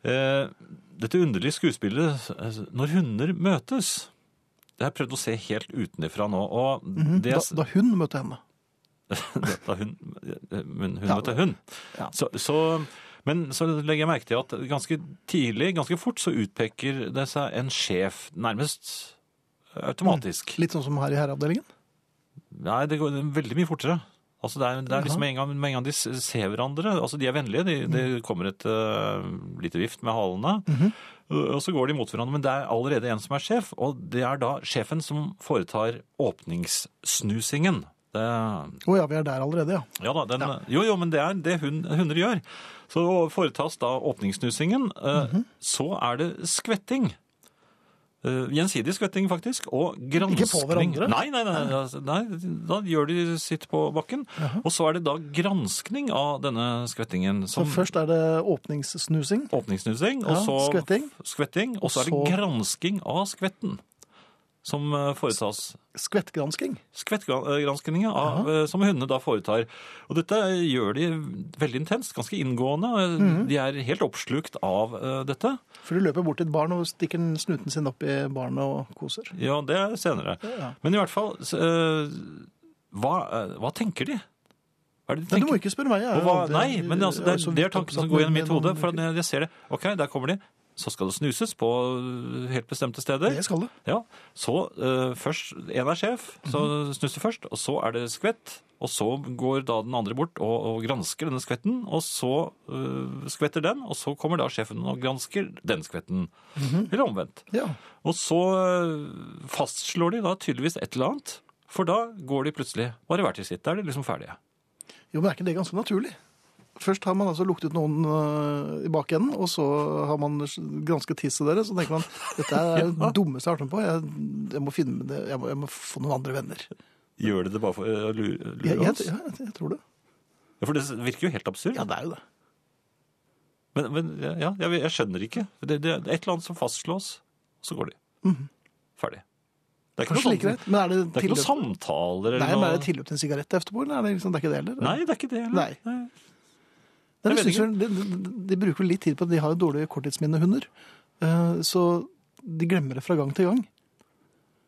Speaker 4: Eh, dette underlige skuespillet eh, Når hunder møtes Det har jeg prøvd å se helt utenifra nå. Og det,
Speaker 2: Mhm, Da, da hun møtte henne.
Speaker 4: da, hun, men hun
Speaker 2: Ja.
Speaker 4: møtte hun.
Speaker 2: Ja.
Speaker 4: Så, så, men så legger jeg merke til at ganske tidlig, ganske fort, så utpeker det seg en sjef nærmest automatisk.
Speaker 2: Litt sånn som her i herreavdelingen.
Speaker 4: Nei, det går veldig mye fortere. Altså det er, det er liksom med en, gang, med en gang de s- ser hverandre altså De er vennlige, det de det kommer et øh, lite vift med halene. øh, Og så går de mot hverandre, men det er allerede en som er sjef. Og det er da sjefen som foretar åpningssnusingen. Det,
Speaker 2: Å ja, vi er der allerede, ja.
Speaker 4: ja da, den, Jo, jo, men det er det hun, hunder gjør. Så foretas da åpningssnusingen. eh,
Speaker 2: Mhm.
Speaker 4: Så er det skvetting. Eh, gjensidig skvetting, faktisk. Og gransking.
Speaker 2: Ikke på hverandre?
Speaker 4: Nei, nei, nei, altså, nei, da gjør de sitt på bakken. Og så er det da granskning av denne skvettingen.
Speaker 2: Så
Speaker 4: Som
Speaker 2: først er det åpningssnusing.
Speaker 4: åpningssnusing, og
Speaker 2: Ja,
Speaker 4: så
Speaker 2: skvetting.
Speaker 4: skvetting, og så er det
Speaker 2: Så-
Speaker 4: gransking av skvetten. Som eh, foretas
Speaker 2: Skvettgransking.
Speaker 4: skvettgranskninga av, eh, som hundene da foretar. Og dette gjør de veldig intenst, ganske inngående. De er helt oppslukt av eh, dette.
Speaker 2: For du løper bort til et barn og stikker snuten sin opp i barnet og koser.
Speaker 4: Ja, det er senere.
Speaker 2: Ja.
Speaker 4: Men i hvert fall så, eh, hva, eh, hva tenker de? Hva er det de
Speaker 2: Nei, du
Speaker 4: tenker?
Speaker 2: må ikke spørre meg. jeg er
Speaker 4: Og hva,
Speaker 2: aldri-
Speaker 4: nei, men altså,
Speaker 2: jeg
Speaker 4: det,
Speaker 2: så
Speaker 4: er, det er
Speaker 2: vidt
Speaker 4: tanken som
Speaker 2: opptatt
Speaker 4: går gjennom
Speaker 2: med
Speaker 4: mitt hode.
Speaker 2: noen-
Speaker 4: For at når jeg ser det. Ok, der kommer de. Så skal det snuses på eh, helt bestemte steder.
Speaker 2: Det skal det.
Speaker 4: Ja, så eh, først, en er sjef, så snuser først, og så er det skvett, og så går da den andre bort og, og gransker denne skvetten, og så eh, skvetter den, og så kommer da sjefen og gransker den skvetten. Eller omvendt.
Speaker 2: Ja.
Speaker 4: Og så eh, fastslår de da tydeligvis et eller annet, for da går de plutselig bare hver til sitt. Da er de liksom ferdige.
Speaker 2: Jo, men er ikke det ganske naturlig? Først har man altså luktet noen øh, i bakenden, og så har man gransket tisset deres, og så tenker man dette er det dummeste jeg har vært med på, jeg, jeg, må finne, det- jeg, må, jeg må få noen andre venner.
Speaker 4: Gjør de det bare for eh, å lure,
Speaker 2: Jeg,
Speaker 4: lure
Speaker 2: jeg,
Speaker 4: oss?
Speaker 2: ja, jeg, jeg tror det.
Speaker 4: Ja, For det virker jo helt absurd.
Speaker 2: Ja, det er jo det.
Speaker 4: Men, men ja, jeg, jeg skjønner ikke. Det, det er et eller annet som fastslås, så går de. Ferdig. Det er
Speaker 2: Mhm.
Speaker 4: ikke
Speaker 2: Kanskje
Speaker 4: noe
Speaker 2: like
Speaker 4: sånn-
Speaker 2: greit, men er det
Speaker 4: Det er ikke noen
Speaker 2: tilløp?
Speaker 4: samtaler
Speaker 2: Nei,
Speaker 4: eller
Speaker 2: men er
Speaker 4: noe
Speaker 2: det tilløp til en sigarett etterpå, eller er det, liksom, det er ikke det heller?
Speaker 4: Nei, det er ikke det heller.
Speaker 2: Nei. Nei,
Speaker 4: jeg
Speaker 2: det
Speaker 4: vet
Speaker 2: synes jeg- de, de- de bruker vel litt tid på det, de har jo dårlige korttidsminnehunder, Eh, så de glemmer det fra gang til gang.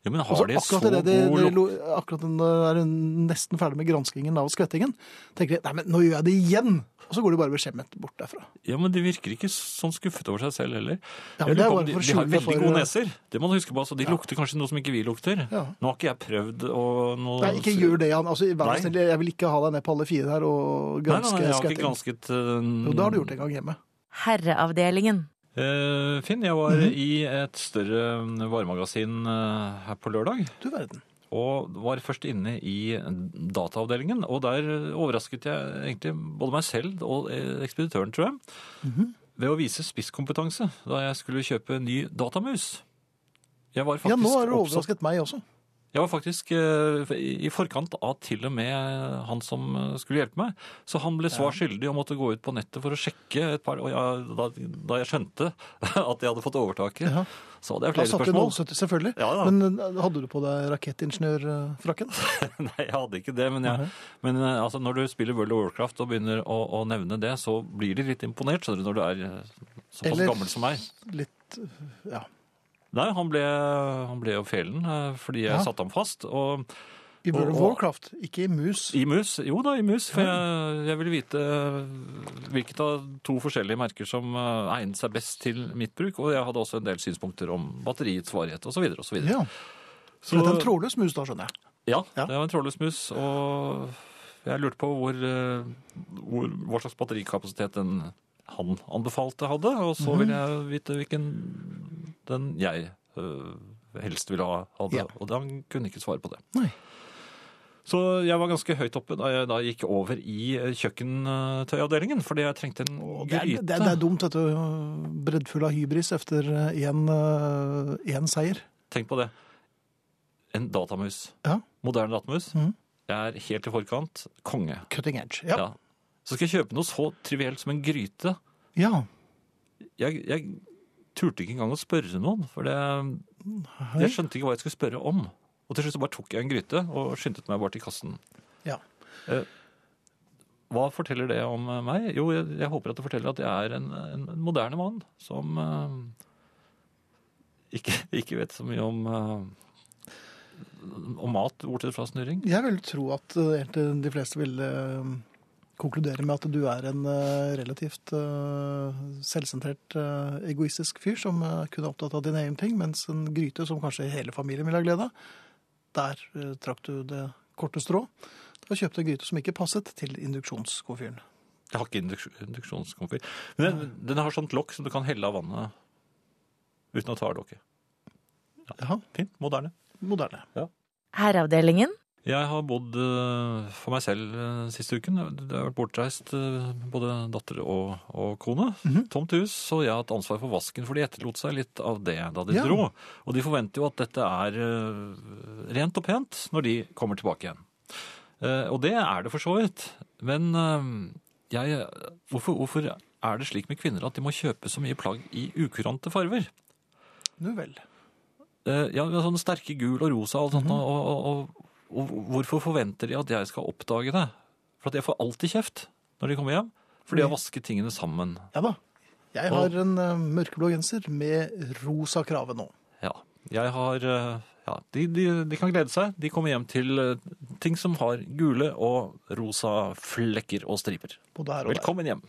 Speaker 4: Ja, men
Speaker 2: Og så
Speaker 4: har de så
Speaker 2: akkurat det, det,
Speaker 4: god
Speaker 2: det,
Speaker 4: lukt?
Speaker 2: lo- akkurat når de er nesten ferdig med granskingen av skvettingen, tenker de nei, men nå gjør jeg det igjen! Og så går de bare beskjemmet bort derfra.
Speaker 4: Ja, men de virker ikke sånn skuffet over seg selv heller.
Speaker 2: Ja,
Speaker 4: Jeg
Speaker 2: men det er
Speaker 4: lurer på om
Speaker 2: bare for å
Speaker 4: de, de har
Speaker 2: skjule
Speaker 4: veldig
Speaker 2: for-
Speaker 4: gode neser. Det må du huske på. Altså, de lukter kanskje noe som ikke vi lukter.
Speaker 2: Ja.
Speaker 4: Nå har ikke jeg prøvd å noe...
Speaker 2: Nei, ikke gjør det, Jan. Altså, vær
Speaker 4: Nei.
Speaker 2: så snill, jeg vil ikke ha deg ned på alle fire her og
Speaker 4: Nei, nei,
Speaker 2: granske
Speaker 4: nei, jeg har ikke
Speaker 2: skvettingen.
Speaker 4: gransket... øh,
Speaker 2: Jo, det har du gjort en gang hjemme.
Speaker 3: Herreavdelingen.
Speaker 4: Eh, Finn, jeg var
Speaker 2: Mhm.
Speaker 4: i et større mm, varemagasin eh, her på lørdag.
Speaker 2: Du verden.
Speaker 4: og var først inne i dataavdelingen. Og der overrasket jeg egentlig både meg selv og eh, ekspeditøren, tror jeg,
Speaker 2: Mhm.
Speaker 4: ved å vise spisskompetanse da jeg skulle kjøpe en ny datamus. Jeg var
Speaker 2: Ja,
Speaker 4: faktisk
Speaker 2: nå har du
Speaker 4: oppsatt-
Speaker 2: overrasket meg også.
Speaker 4: Jeg var faktisk eh, i forkant av til og med han som eh, skulle hjelpe meg. Så han ble svar skyldig og måtte gå ut på nettet for å sjekke et par Og jeg, da, da jeg skjønte at jeg hadde fått overtaket,
Speaker 2: Ja.
Speaker 4: så hadde jeg
Speaker 2: Da
Speaker 4: flere
Speaker 2: satt du
Speaker 4: spørsmål.
Speaker 2: 070, selvfølgelig.
Speaker 4: Ja, ja.
Speaker 2: Men eh, hadde du på deg eh, rakettingeniørfrakken?
Speaker 4: Nei, jeg hadde ikke det, men, jeg, men eh, altså, når du spiller World of Warcraft og begynner å, å nevne det, så blir de litt imponert, skjønner du, når du er eh, såpass
Speaker 2: Eller-
Speaker 4: gammel som meg.
Speaker 2: Litt eh, Ja.
Speaker 4: Nei, han ble, han ble jo felen eh, fordi jeg
Speaker 2: Ja.
Speaker 4: satte ham fast. Og
Speaker 2: I World of
Speaker 4: Og- og-
Speaker 2: Warcraft, ikke i mus.
Speaker 4: i mus, jo da, i mus, for jeg, jeg ville vite eh, hvilket av to forskjellige merker som eh, egnet seg best til mitt bruk, og jeg hadde også en del synspunkter om batteriets varighet osv. osv.
Speaker 2: Ja. Så det er en trådløs mus, da, skjønner jeg.
Speaker 4: Ja,
Speaker 2: Ja.
Speaker 4: det var en trådløs mus, og jeg lurte på hvor, eh, hvor, hva slags batterikapasitet den han anbefalte hadde, og
Speaker 2: Mhm.
Speaker 4: så ville jeg vite hvilken den jeg eh, helst ville ha hadde,
Speaker 2: Ja.
Speaker 4: og han kunne ikke svare på det.
Speaker 2: Nei.
Speaker 4: Så jeg var ganske høyt oppe da jeg da gikk over i eh, kjøkkentøyavdelingen, fordi jeg trengte en
Speaker 2: Det er,
Speaker 4: gryte.
Speaker 2: det, er- det er dumt, vet du. Breddfull av hybris eh, etter én eh, seier.
Speaker 4: Tenk på det. En datamus.
Speaker 2: Ja.
Speaker 4: Moderne datamus.
Speaker 2: Mhm.
Speaker 4: Jeg er helt i forkant. Konge.
Speaker 2: Cutting edge. Ja.
Speaker 4: Ja. Så skal jeg kjøpe noe så trivielt som en gryte.
Speaker 2: ja.
Speaker 4: jeg, jeg turte ikke engang å spørre noen, for det, jeg skjønte ikke hva jeg skulle spørre om. Og til slutt så bare tok jeg en gryte og skyndte meg bare til kassen. Eh,
Speaker 2: Ja.
Speaker 4: Hva forteller det om eh, meg? Jo, jeg, jeg håper at det forteller at jeg er en, en en moderne mann som eh, ikke, ikke vet så mye om, eh, om mat, bortsett fra snurring.
Speaker 2: Jeg vil tro at eh, egentlig de fleste vil eh, konkludere med at du er en eh, relativt eh, selvsentrert, eh, egoistisk fyr som eh, kun er opptatt av dine egne ting, mens en gryte som kanskje hele familien vil ha glede av, der eh, trakk du det korte strå. Da kjøpte jeg en gryte som ikke passet til induksjonskomfyren.
Speaker 4: Jeg har ikke induks- induksjonskomfyr. Men den, den har sånt lokk som du kan helle av vannet uten å ta av lokket.
Speaker 2: Jaha,
Speaker 4: Fint, moderne.
Speaker 2: moderne.
Speaker 3: Herreavdelingen.
Speaker 4: Jeg har bodd eh, for meg selv eh, siste uken. Jeg jeg har vært bortreist, eh, både datter og, og kone. Tomt hus, og jeg har hatt ansvar for vasken, for de etterlot seg litt av det da de
Speaker 2: Ja.
Speaker 4: dro. Og de forventer jo at dette er eh, rent og pent når de kommer tilbake igjen. Eh, og det er det for så vidt. Men eh, jeg, hvorfor, hvorfor er det slik med kvinner at de må kjøpe så mye plagg i ukurante farver?
Speaker 2: Nu vel.
Speaker 4: Eh, Ja, vi har sånne sterke gul og rosa og alt sånt, og, og, og, og hvorfor forventer de at jeg skal oppdage det? For at jeg får alltid kjeft når de kommer hjem, fordi jeg har vasket tingene sammen.
Speaker 2: Ja da. Jeg har en eh, mørkeblå genser med rosa krave nå.
Speaker 4: Ja, jeg har... eh, Ja, de, de, de kan glede seg. De kommer hjem til eh, ting som har gule og rosa flekker og striper.
Speaker 2: Både her og der.
Speaker 4: Velkommen hjem.